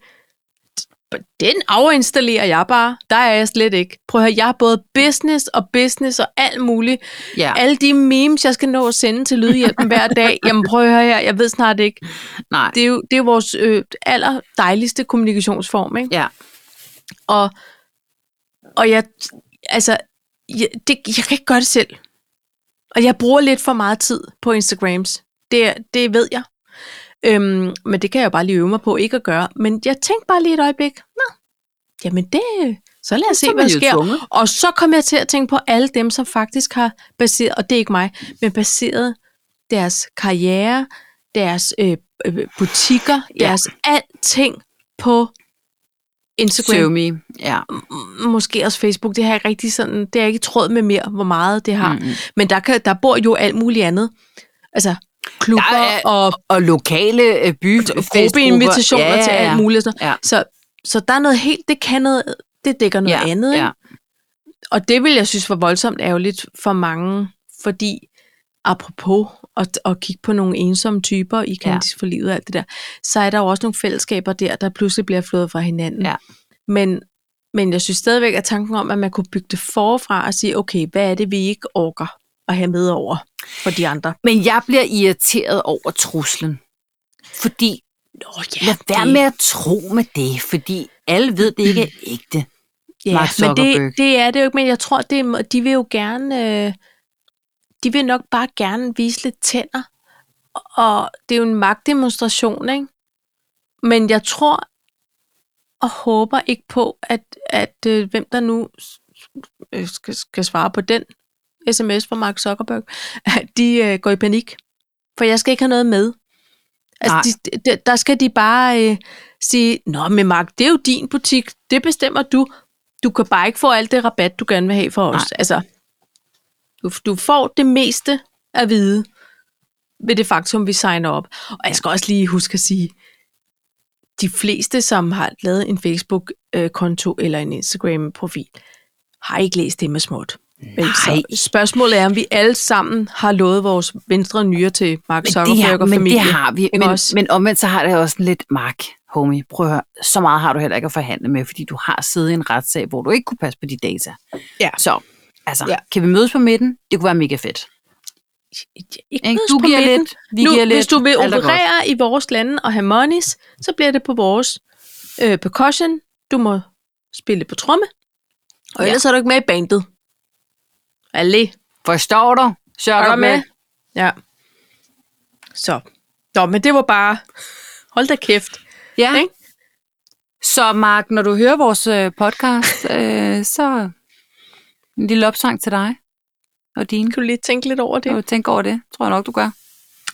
S1: den afinstallerer jeg bare. Der er jeg slet ikke. Prøv at høre, jeg er både business og business og alt muligt.
S2: Ja.
S1: Alle de memes, jeg skal nå at sende til Lydhjælpen hver dag, jamen prøv at høre her, jeg ved snart ikke.
S2: Nej.
S1: Det er jo det er vores øh, aller dejligste kommunikationsform, ikke?
S2: Ja.
S1: Og, og jeg, altså, jeg, det, jeg kan ikke gøre det selv. Og jeg bruger lidt for meget tid på Instagrams. Det, er- det ved jeg. Øhm, men det kan jeg jo bare lige øve mig på ikke at gøre. Men jeg tænkte bare lige et øjeblik. Nå, jamen det, så lad os se,
S2: Så er
S1: hvad
S2: man
S1: der
S2: jo
S1: sker.
S2: tvunget.
S1: Og så kom jeg til at tænke på alle dem, som faktisk har baseret, og det er ikke mig, men baseret deres karriere, deres øh, øh, butikker,
S2: Ja.
S1: deres alting på Instagram.
S2: Show me. Ja.
S1: M- Måske også Facebook. Det har jeg ikke rigtig sådan, det har jeg ikke tråd med mere, hvor meget det har. Mm.
S2: Mm.
S1: Men der, kan, der bor jo alt muligt andet. Altså klubber
S2: Der er-
S1: er, og
S2: Og lokale øh, byfestgrupper.
S1: gruppeinvitationer ja, ja, ja. til alt muligt. og sådan
S2: Ja.
S1: noget. Så, så der er noget helt, det kan noget, det dækker noget
S2: ja,
S1: andet. ikke?
S2: Ja.
S1: Og det vil jeg synes var voldsomt ærgerligt for mange, fordi apropos at, at kigge på nogle ensomme typer i Candice ja. for livet og alt det der, så er der jo også nogle fællesskaber der, der pludselig bliver flået fra hinanden.
S2: Ja.
S1: Men, men jeg synes stadigvæk, at tanken om, at man kunne bygge det forfra og sige, okay, hvad er det, vi ikke orker at have med over for de andre?
S2: Men jeg bliver irriteret over truslen. Fordi,
S1: Nå ja,
S2: lad være med at tro med det, fordi alle ved, det ikke er ægte.
S1: Ja,
S2: Mark
S1: men
S2: Zuckerberg.
S1: det, det er det jo ikke, men jeg tror, det, er- de vil jo gerne, øh, de vil nok bare gerne vise lidt tænder, og det er jo en magtdemonstration, ikke? Men jeg tror og håber ikke på, at, at øh, hvem der nu s- øh, skal, skal svare på den sms fra Mark Zuckerberg, at de øh, går i panik, for jeg skal ikke have noget med. Altså, de, de, der skal de bare øh, sige, Nå, men Mark, det er jo din butik, det bestemmer du. Du kan bare ikke få alt det rabat, du gerne vil have for os.
S2: Nej.
S1: Altså, du, du får det meste at vide ved det faktum, vi signer op. Og jeg skal også lige huske at sige, de fleste, som har lavet en Facebook-konto eller en Instagram-profil, har ikke læst det med småt. Men
S2: Nej.
S1: så spørgsmålet er, om vi alle sammen har lovet vores venstre nyre til Mark
S2: Men det, har,
S1: Zuckerberg og
S2: men
S1: familie.
S2: det har vi. Men,
S1: også?
S2: men omvendt så har det også en lidt mark, homie. Prøv at høre, så meget har du heller ikke at forhandle med, fordi du har siddet i en retssag, hvor du ikke kunne passe på de data.
S1: Ja.
S2: Så, altså,
S1: Ja.
S2: ja. kan vi mødes på midten? Det kunne være mega fedt.
S1: ikke
S2: Ikke?
S1: mødes
S2: Du
S1: på
S2: giver
S1: midten.
S2: lidt, vi
S1: nu,
S2: giver lidt.
S1: Hvis du vil
S2: alt er godt.
S1: operere i vores lande og have monies, så bliver det på vores øh, percussion. Du må spille på tromme, og
S2: Ja.
S1: ellers er du ikke med i bandet. Allé.
S2: Forstår du? Sørg
S1: Er
S2: dig
S1: du med?
S2: med.
S1: Ja. Så. Nå, men det var bare... Hold da kæft.
S2: Ja.
S1: Ikke?
S2: Så Mark, når du hører vores øh, podcast, øh, så en lille opsang til dig og din.
S1: Kan du lige tænke lidt over det?
S2: Kan du tænke over det? Tror jeg nok, du gør.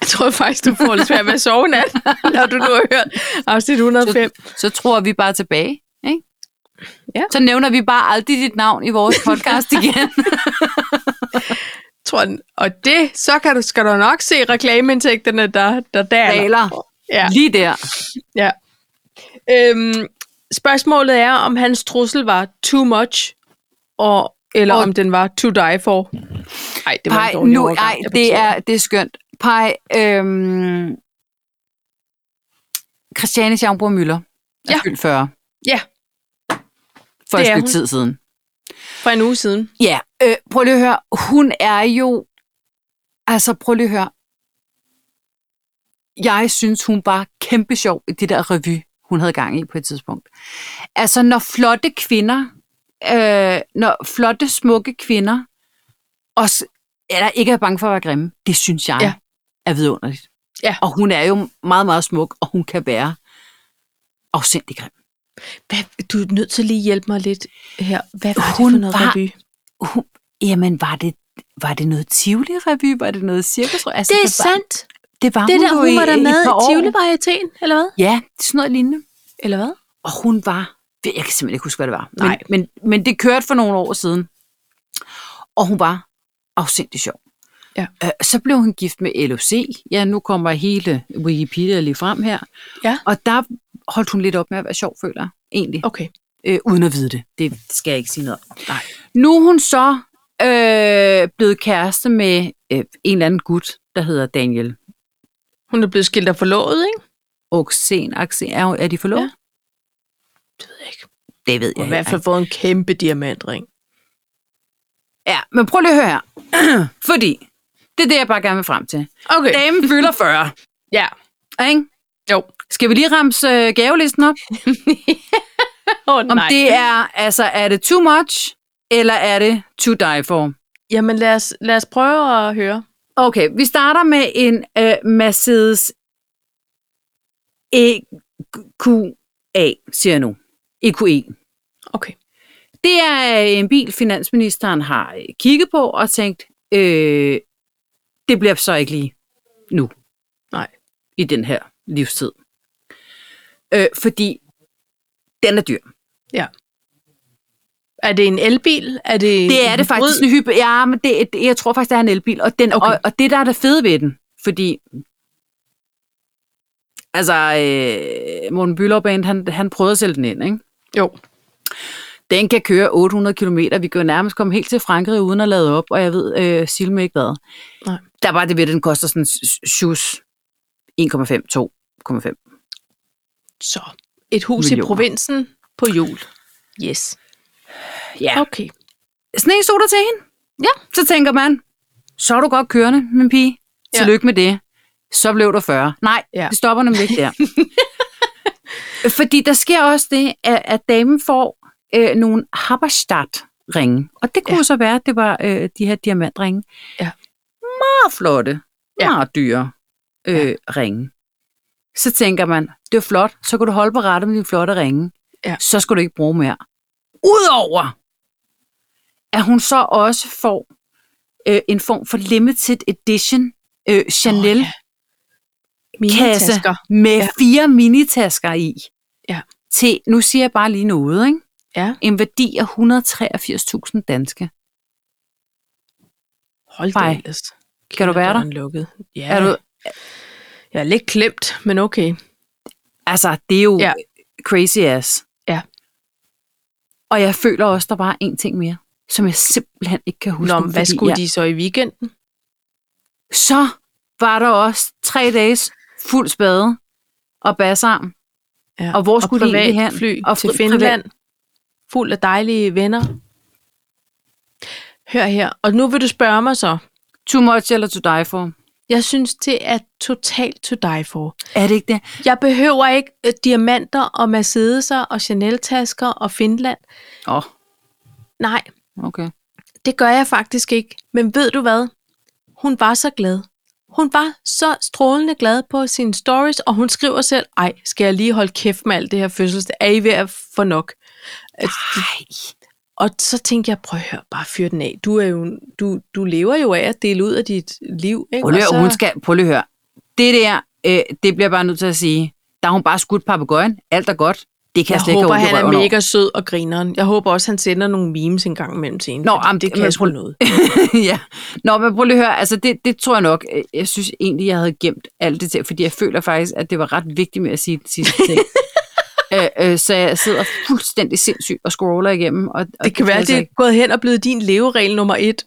S1: Jeg tror faktisk, du får lidt svært ved at sove i nat, når du nu har hørt afsnit 105.
S2: Så tror vi bare tilbage. Ikke?
S1: Ja.
S2: Så nævner vi bare aldrig dit navn i vores podcast igen.
S1: Tror den. Og det, så kan du, skal du nok se reklameindtægterne, der, der daler.
S2: Daler.
S1: Ja.
S2: Lige der.
S1: Ja. Øhm, spørgsmålet er, om hans trussel var too much, og, eller
S2: Og-
S1: og... om den var to die for. Nej, det var en
S2: Pej,
S1: dårlig
S2: nu,
S1: overgang.
S2: ej,
S1: Jeg
S2: det
S1: beklager.
S2: er, det er skønt. Pej, øhm, Christiane Schaumburg Møller er
S1: Ja.
S2: fyldt 40
S1: Ja,
S2: for
S1: Det
S2: et
S1: er
S2: stykke
S1: hun.
S2: tid siden.
S1: for en uge siden.
S2: Ja, øh, prøv lige at høre. Hun er jo... Altså, prøv lige at høre. Jeg synes, hun var kæmpe sjov i det der revy, hun havde gang i på et tidspunkt. Altså, når flotte kvinder, øh, når flotte, smukke kvinder, også, eller ikke er bange for at være grimme, det synes jeg
S1: Ja.
S2: ja. er vidunderligt.
S1: Ja.
S2: Og hun er jo meget, meget smuk, og hun kan være afsindig grim.
S1: Hvad, du er nødt til lige at hjælpe mig lidt her. Hvad var
S2: Hun
S1: det for noget
S2: var-
S1: revy?
S2: Hun, jamen, var det, var det noget Tivoli-revy? Var det noget cirkus? Altså,
S1: Det er
S2: var,
S1: sandt.
S2: Det var
S1: Det
S2: hun
S1: der,
S2: jo
S1: Ah, hun
S2: i-
S1: var der
S2: i et
S1: med
S2: par
S1: i
S2: år.
S1: Tivoli-varietéen, eller hvad?
S2: Ja, sådan noget lignende.
S1: Eller hvad?
S2: Og hun var, jeg kan simpelthen ikke huske, hvad det var.
S1: Nej.
S2: Nej, men, men det kørte for nogle år siden. Og hun var afsindig sjov.
S1: Ja.
S2: Øh, så blev hun gift med LOC. Ja, nu kommer hele Wikipedia lige frem her.
S1: Ja.
S2: Og der holdt hun lidt op med at være sjov, føler jeg, egentlig.
S1: Okay.
S2: Øh, uden at vide det. Det skal jeg ikke sige noget om.
S1: Nej.
S2: Nu er hun så øh, blevet kæreste med øh, en eller anden gut, der hedder Daniel
S1: Hun er blevet skilt og forlovet, ikke?
S2: Oxen. Oxen. Er, er de forlovet?
S1: Det ved jeg ikke.
S2: Ja. Det ved
S1: Hun har
S2: jeg
S1: i hvert
S2: ikke.
S1: fald fået en kæmpe diamantring.
S2: Ja, men prøv lige at høre her. Fordi, det er det, jeg bare gerne vil frem til.
S1: Okay.
S2: Damen fylder 40,
S1: Ja.
S2: ikke?
S1: Jo.
S2: Skal vi lige ramse øh, gavelisten op?
S1: Oh,
S2: Om det er, altså, er det too much, eller er det to die for?
S1: Jamen lad os, lad os prøve at høre.
S2: Okay, vi starter med en øh, Mercedes EQA, siger jeg nu. E EQE.
S1: Okay.
S2: Det er øh, en bil, finansministeren har øh, kigget på og tænkt, øh, det bliver så ikke lige nu.
S1: Nej.
S2: I den her livstid. Øh, fordi den er dyr.
S1: Er det en elbil? Er det,
S2: Det er
S1: en
S2: det faktisk
S1: hybrid?
S2: en hybe. Ja, men det, det- jeg tror faktisk, det er en elbil. Og, den,
S1: Okay.
S2: okay. og, og det, der er det fede ved den, fordi... Altså, øh, Morten Bylov Band, han, han prøvede at sælge den ind, ikke?
S1: Jo.
S2: Den kan køre 800 km. Vi kan jo nærmest komme helt til Frankrig uden at lade op, og jeg ved øh, Silme ikke hvad.
S1: Nej.
S2: Der var det ved, at den koster sådan shoes 1,5, 2,5.
S1: Så et hus Millioner. i
S2: Millioner.
S1: provinsen på jul. Yes.
S2: Ja.
S1: Okay.
S2: Sne stod der til hende.
S1: Ja.
S2: Så tænker man, så er du godt kørende, min pige.
S1: Ja.
S2: Tillykke med det. Så blev du 40. Nej,
S1: Ja.
S2: ja. det stopper nemlig ikke der. Fordi der sker også det, at, at damen får øh, nogle Haberstadt-ringe. Og det kunne
S1: Ja.
S2: ja. så være, at det var øh, de her diamantringe.
S1: Ja.
S2: Meget flotte,
S1: Ja.
S2: ja. meget dyre øh,
S1: Ja.
S2: ringe. Så tænker man, det er flot, så kan du holde på rette med dine flotte ringe.
S1: Ja.
S2: Så skal du ikke bruge mere. Udover at hun så også får øh, en form for limited edition øh, Chanel
S1: Åh,
S2: oh, ja.
S1: Mine
S2: kasse
S1: tasker.
S2: med
S1: Ja.
S2: ja. fire minitasker i.
S1: Ja.
S2: Til, nu siger jeg bare lige noget, ikke?
S1: Ja.
S2: En værdi af 183.000 danske.
S1: Hold da
S2: Fej.
S1: ellers.
S2: Kan du være der?
S1: Døren Lukket. Ja.
S2: Er du,
S1: Jeg er lidt klemt, men okay.
S2: altså, det er jo
S1: Ja.
S2: ja. crazy ass.
S1: Ja.
S2: Og jeg føler også, der var en ting mere, som jeg simpelthen ikke kan huske.
S1: Nå,
S2: nu,
S1: men hvad
S2: fordi
S1: skulle
S2: jeg-
S1: de så i weekenden?
S2: Så var der også tre dages fuld spade og bassarm.
S1: Ja.
S2: Og hvor skulle de
S1: privat
S2: egentlig hen?
S1: fly og
S2: Og
S1: til
S2: fri-
S1: Finland. Fuld af dejlige venner. Hør her. Og nu vil du spørge mig så.
S2: Too much eller to die for.
S1: Jeg synes, det er totalt to die for.
S2: Er det ikke det?
S1: Jeg behøver ikke øh, diamanter og Mercedes'er og Chanel-tasker og Finland.
S2: Åh, oh,
S1: Nej,
S2: okay.
S1: det gør jeg faktisk ikke. Men ved du hvad? Hun var så glad. Hun var så strålende glad på sine stories, og hun skriver selv, ej, skal jeg lige holde kæft med alt det her fødselsdag? Er I ved at få nok?
S2: Nej.
S1: Og så tænkte jeg, prøv at høre, bare fyr den af. Du, er jo, du, du lever jo af at dele ud af dit liv. Ikke?
S2: Prøv lige,
S1: Og
S2: at
S1: så,
S2: høre, hun skal, prøv lige at høre. Det der, øh, det bliver jeg bare nødt til at sige. Der har hun bare skudt papegøjen. Alt er godt. Det kan jeg,
S1: jeg
S2: slet
S1: håber,
S2: ikke
S1: han
S2: have
S1: er
S2: ondt i
S1: mega sød og grineren. Jeg håber også, han sender nogle memes en gang imellem til hende.
S2: Nå,
S1: fordi
S2: jamen,
S1: det kan
S2: men
S1: jeg sgu
S2: prøv-
S1: noget.
S2: røven over. ja. Nå, men prøv lige at høre. Altså, det, det tror jeg nok. øh, Jeg synes egentlig, jeg havde gemt alt det til, fordi jeg føler faktisk, at det var ret vigtigt med at sige den sidste ting. øh, øh, så jeg sidder fuldstændig sindssygt og scroller igennem. Og, og
S1: Det kan være,
S2: altså
S1: det er
S2: ikke.
S1: gået hen og blevet din leveregel nummer et.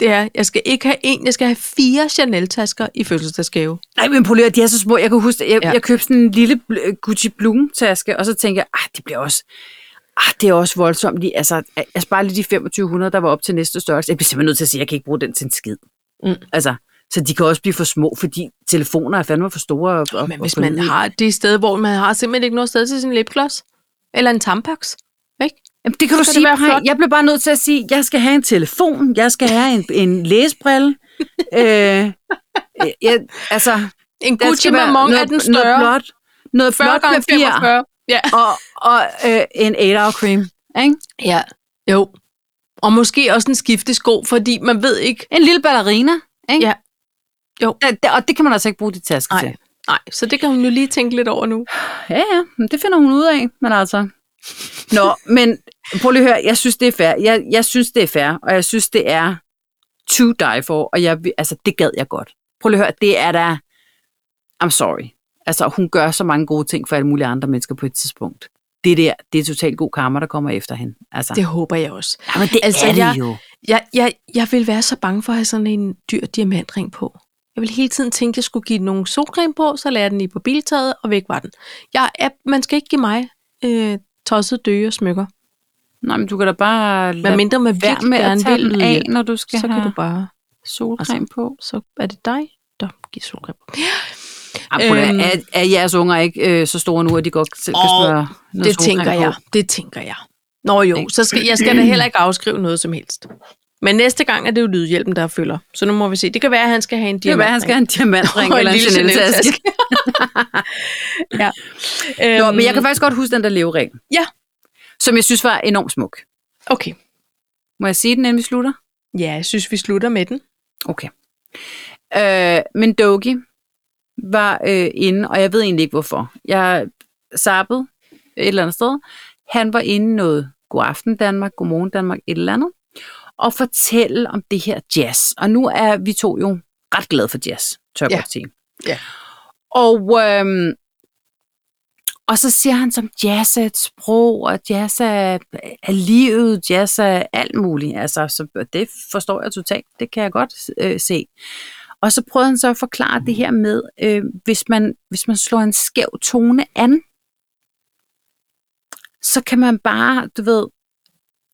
S1: Det er, jeg skal ikke have en, jeg skal have fire Chanel-tasker i fødselsdagsgave.
S2: Nej, men prøv lige, at høre, de er så små. Jeg kan huske, jeg,
S1: Ja.
S2: ja. jeg købte sådan en lille bl- øh, Gucci Bloom-taske, og så tænkte jeg, ah, det bliver også... Ah, det er også voldsomt. Lige, altså, jeg sparer lige de 2500, der var op til næste størrelse. Jeg bliver simpelthen nødt til at sige, at jeg kan ikke bruge den til en skid.
S1: Mm.
S2: Altså, Så de kan også blive for små, fordi telefoner er fandme for store. Og, og,
S1: Men
S2: og
S1: hvis
S2: for
S1: man
S2: lydige.
S1: har det sted, hvor man har simpelthen ikke noget sted til sin lipgloss, eller en tampax, ikke?
S3: Jamen, det kan du
S1: Skal det
S3: sige,
S1: være
S3: Paj.
S1: flot?
S3: Jeg blev bare nødt til at sige,
S2: Jeg skal have en telefon, jeg skal have en, en læsebrille. øh, jeg, altså,
S1: En
S2: der
S1: Gucci
S2: skal være
S1: Mamon er
S2: noget-
S1: den større.
S2: Noget blåt, noget
S1: 40
S2: blåt
S1: gange
S2: papir
S1: 45.
S2: og, og øh, en 8 cream. Ikke?
S1: Ja, jo. Og måske også en skiftesko, fordi man ved ikke...
S3: en lille ballerina, ikke?
S1: Ja. Jo.
S3: Ja, det- Og det kan man altså ikke bruge dit taske
S1: Nej.
S3: til.
S1: Nej, så det kan hun jo lige tænke lidt over nu.
S3: Ja, ja, men det finder hun ud af, men altså...
S2: Nå, men prøv lige at høre, jeg synes, det er fair. Jeg, jeg synes, det er fair, og jeg synes, det er to die for, og jeg, vil- altså, det gad jeg godt. Prøv lige at høre, det er da... I'm sorry. Altså, hun gør så mange gode ting for alle mulige andre mennesker på et tidspunkt. Det der, det er totalt god karma, der kommer efter hende. Altså,
S1: Det håber jeg også.
S2: jamen, det
S1: altså,
S2: er det
S1: jeg-
S2: jo.
S1: Jeg, jeg, jeg vil være så bange for at have sådan en dyr diamantring på. Jeg vil hele tiden tænke, at jeg skulle give den nogle solcreme på, så lagde jeg den i på biltaget, og væk var den. Jeg er, man skal ikke give mig øh, tosset døge og smykker.
S3: Nej, men du kan da bare
S1: Hvad
S3: lade
S1: mindre man
S3: være
S1: virkelig
S3: med at
S1: gerne
S3: tage
S1: vil
S3: den
S1: yde
S3: af,
S1: hjælp,
S3: når du skal
S1: så
S3: have
S1: kan du bare... altså-
S3: solcreme på.
S1: Så er det dig, der giver solcreme på.
S2: Jamen, Ah, prøv at høre,
S1: Øhm.
S2: er, er jeres unger ikke øh, så store nu, at de godt selv kan
S1: Åh,
S2: smøre noget
S1: Det
S2: solcreme
S1: tænker
S2: på?
S1: jeg. Det tænker jeg. Nå jo, så skal, jeg skal da heller ikke afskrive noget som helst. Men næste gang er det jo lydhjælpen, der følger. Så nu må vi se. Det kan være, at han skal have en
S2: Det kan
S1: diamant.
S2: være, han skal have en diamantring
S1: Og en
S2: eller en
S1: lille
S2: Chanel-taske.
S1: øhm,
S2: Nå, men jeg kan faktisk godt huske den der levering.
S1: Ja.
S2: Som jeg synes var enormt smuk.
S1: Okay.
S2: Må jeg sige den, inden vi slutter?
S1: Ja, jeg synes, vi slutter med den.
S2: Okay. Øh, men Dogi var øh, inde, og jeg ved egentlig ikke hvorfor. Jeg zappede et eller andet sted. Han var inde i noget God aften Danmark, Godmorgen Danmark, et eller andet. Og fortælle om det her jazz. Og nu er vi to jo ret glade for jazz, tør jeg
S1: Ja.
S2: godt sige.
S1: Ja.
S2: Og, øhm, og så siger han som jazz er et sprog, og jazz er, er livet, jazz er alt muligt. Altså, så det forstår jeg totalt, det kan jeg godt øh, se. Og så prøvede han så at forklare det her med, øh, hvis, man, hvis man slår en skæv tone an, så kan man bare, du ved,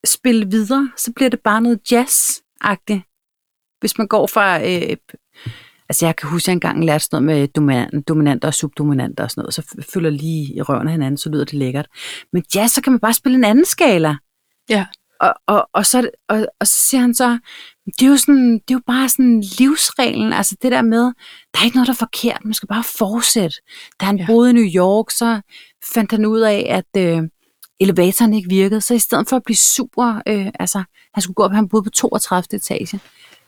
S2: spille videre, så bliver det bare noget jazz-agtigt. Hvis man går fra... Øh, altså, jeg kan huske, at jeg engang lærte sådan noget med dominan- dominanter og subdominanter og sådan noget, så f- følger lige i røven af hinanden, så lyder det lækkert. Men jazz, så kan man bare spille en anden skala.
S1: Ja.
S2: Og, og, og, så, er det- og, og så siger han så, det er jo, sådan, det er jo bare sådan livsreglen, altså det der med, der er ikke noget, der er forkert, man skal bare fortsætte. Da han
S1: Ja.
S2: ja. boede i New York, så fandt han ud af, at øh, elevatoren ikke virkede, så i stedet for at blive super, øh, altså han skulle gå op, han boede på 32. etage,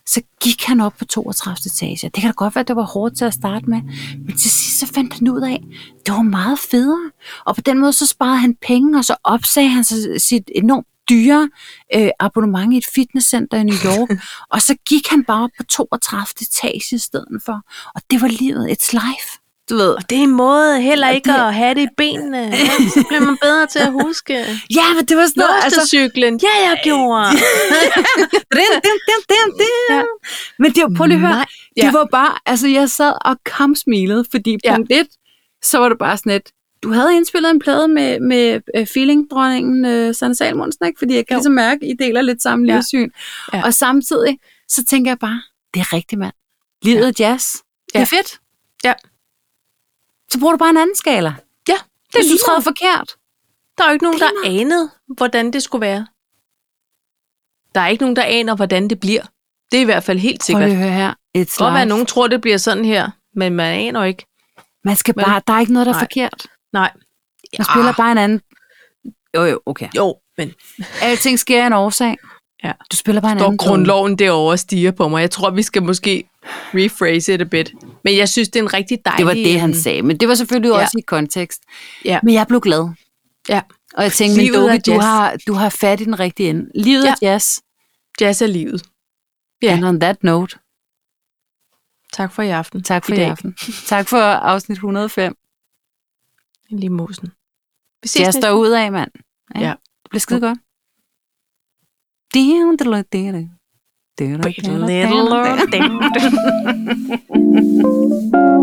S2: så gik han op på 32. etage. Det kan da godt være, at det var hårdt til at starte med, men til sidst så fandt han ud af, at det var meget federe. Og på den måde så sparede han penge, og så opsagde han så sit enormt dyre øh, abonnement i et fitnesscenter i New York, og så gik han bare op på 32. etage i stedet for. Og det var livet, it's life. Du ved.
S1: Og det er en måde heller
S2: Og
S1: ikke
S2: det-
S1: at have det i benene. Ja, Så bliver man bedre til at huske.
S2: Ja, men det var sådan noget, altså,
S1: Låstecyklen. Ja, jeg gjorde.
S2: Din, din, din, din, din.
S1: Ja.
S2: Men det var, prøv lige at høre,
S1: Nej.
S2: det
S1: Ja.
S2: var bare, altså jeg sad og kom smilet, fordi
S1: Ja.
S2: punkt et, så var det bare sådan et, du havde indspillet en plade med, med øh, feeling-dronningen øh, Sanne Salmonsen, ikke? fordi jeg kan
S1: Jo.
S2: ligesom mærke, I deler lidt samme
S1: Ja.
S2: livssyn.
S1: Ja.
S2: Og samtidig, så tænker jeg bare, det er rigtigt, mand. Livet
S1: Ja.
S2: ja. er jazz. Det er
S1: Ja.
S2: fedt.
S1: Ja.
S2: Så bruger du bare en anden skala.
S1: Ja, det er
S2: Hvis du
S1: lige
S2: træder forkert.
S1: Der er jo ikke nogen, der anede, hvordan det skulle være. Der er ikke nogen, der aner, hvordan det bliver. Det er i hvert fald helt
S2: Prøv
S1: sikkert.
S2: lige at høre her. It's
S1: Det kan godt være, at
S2: life.
S1: nogen tror, det bliver sådan her, men man aner ikke.
S2: Man skal
S1: Men-
S2: bare, der er ikke noget, der er
S1: Nej.
S2: forkert.
S1: Nej.
S2: Man spiller bare en anden. Jo, jo, okay.
S1: Ah, Jo, men
S2: Alting sker af en årsag.
S1: Ja.
S2: Du spiller bare en
S1: står
S2: anden.
S1: grundloven derovre og stiger på mig. Jeg tror, vi skal måske rephrase it a bit. Men jeg synes, det er en rigtig dejlig... mm,
S2: Det var det, han sagde. Men det var selvfølgelig
S1: Ja.
S2: også i kontekst.
S1: Ja.
S2: Men jeg blev glad.
S1: Ja.
S2: Og jeg tænkte, men
S1: Livet er
S2: Doke, du
S1: jazz.
S2: har, du har fat i den rigtige ende. Livet
S1: Ja.
S2: er jazz.
S1: Jazz er livet. Ja.
S2: Ja. And on that note,
S1: Tak for i aften.
S2: tak for i,
S1: dag.
S2: aften. Tak for afsnit 105.
S1: Lige mosen. Vi ses
S2: Jazz
S1: næste.
S2: står ud af, mand.
S1: Ja.
S2: Det bliver skide godt. Damn, det lød det. det.
S1: Little, little, little.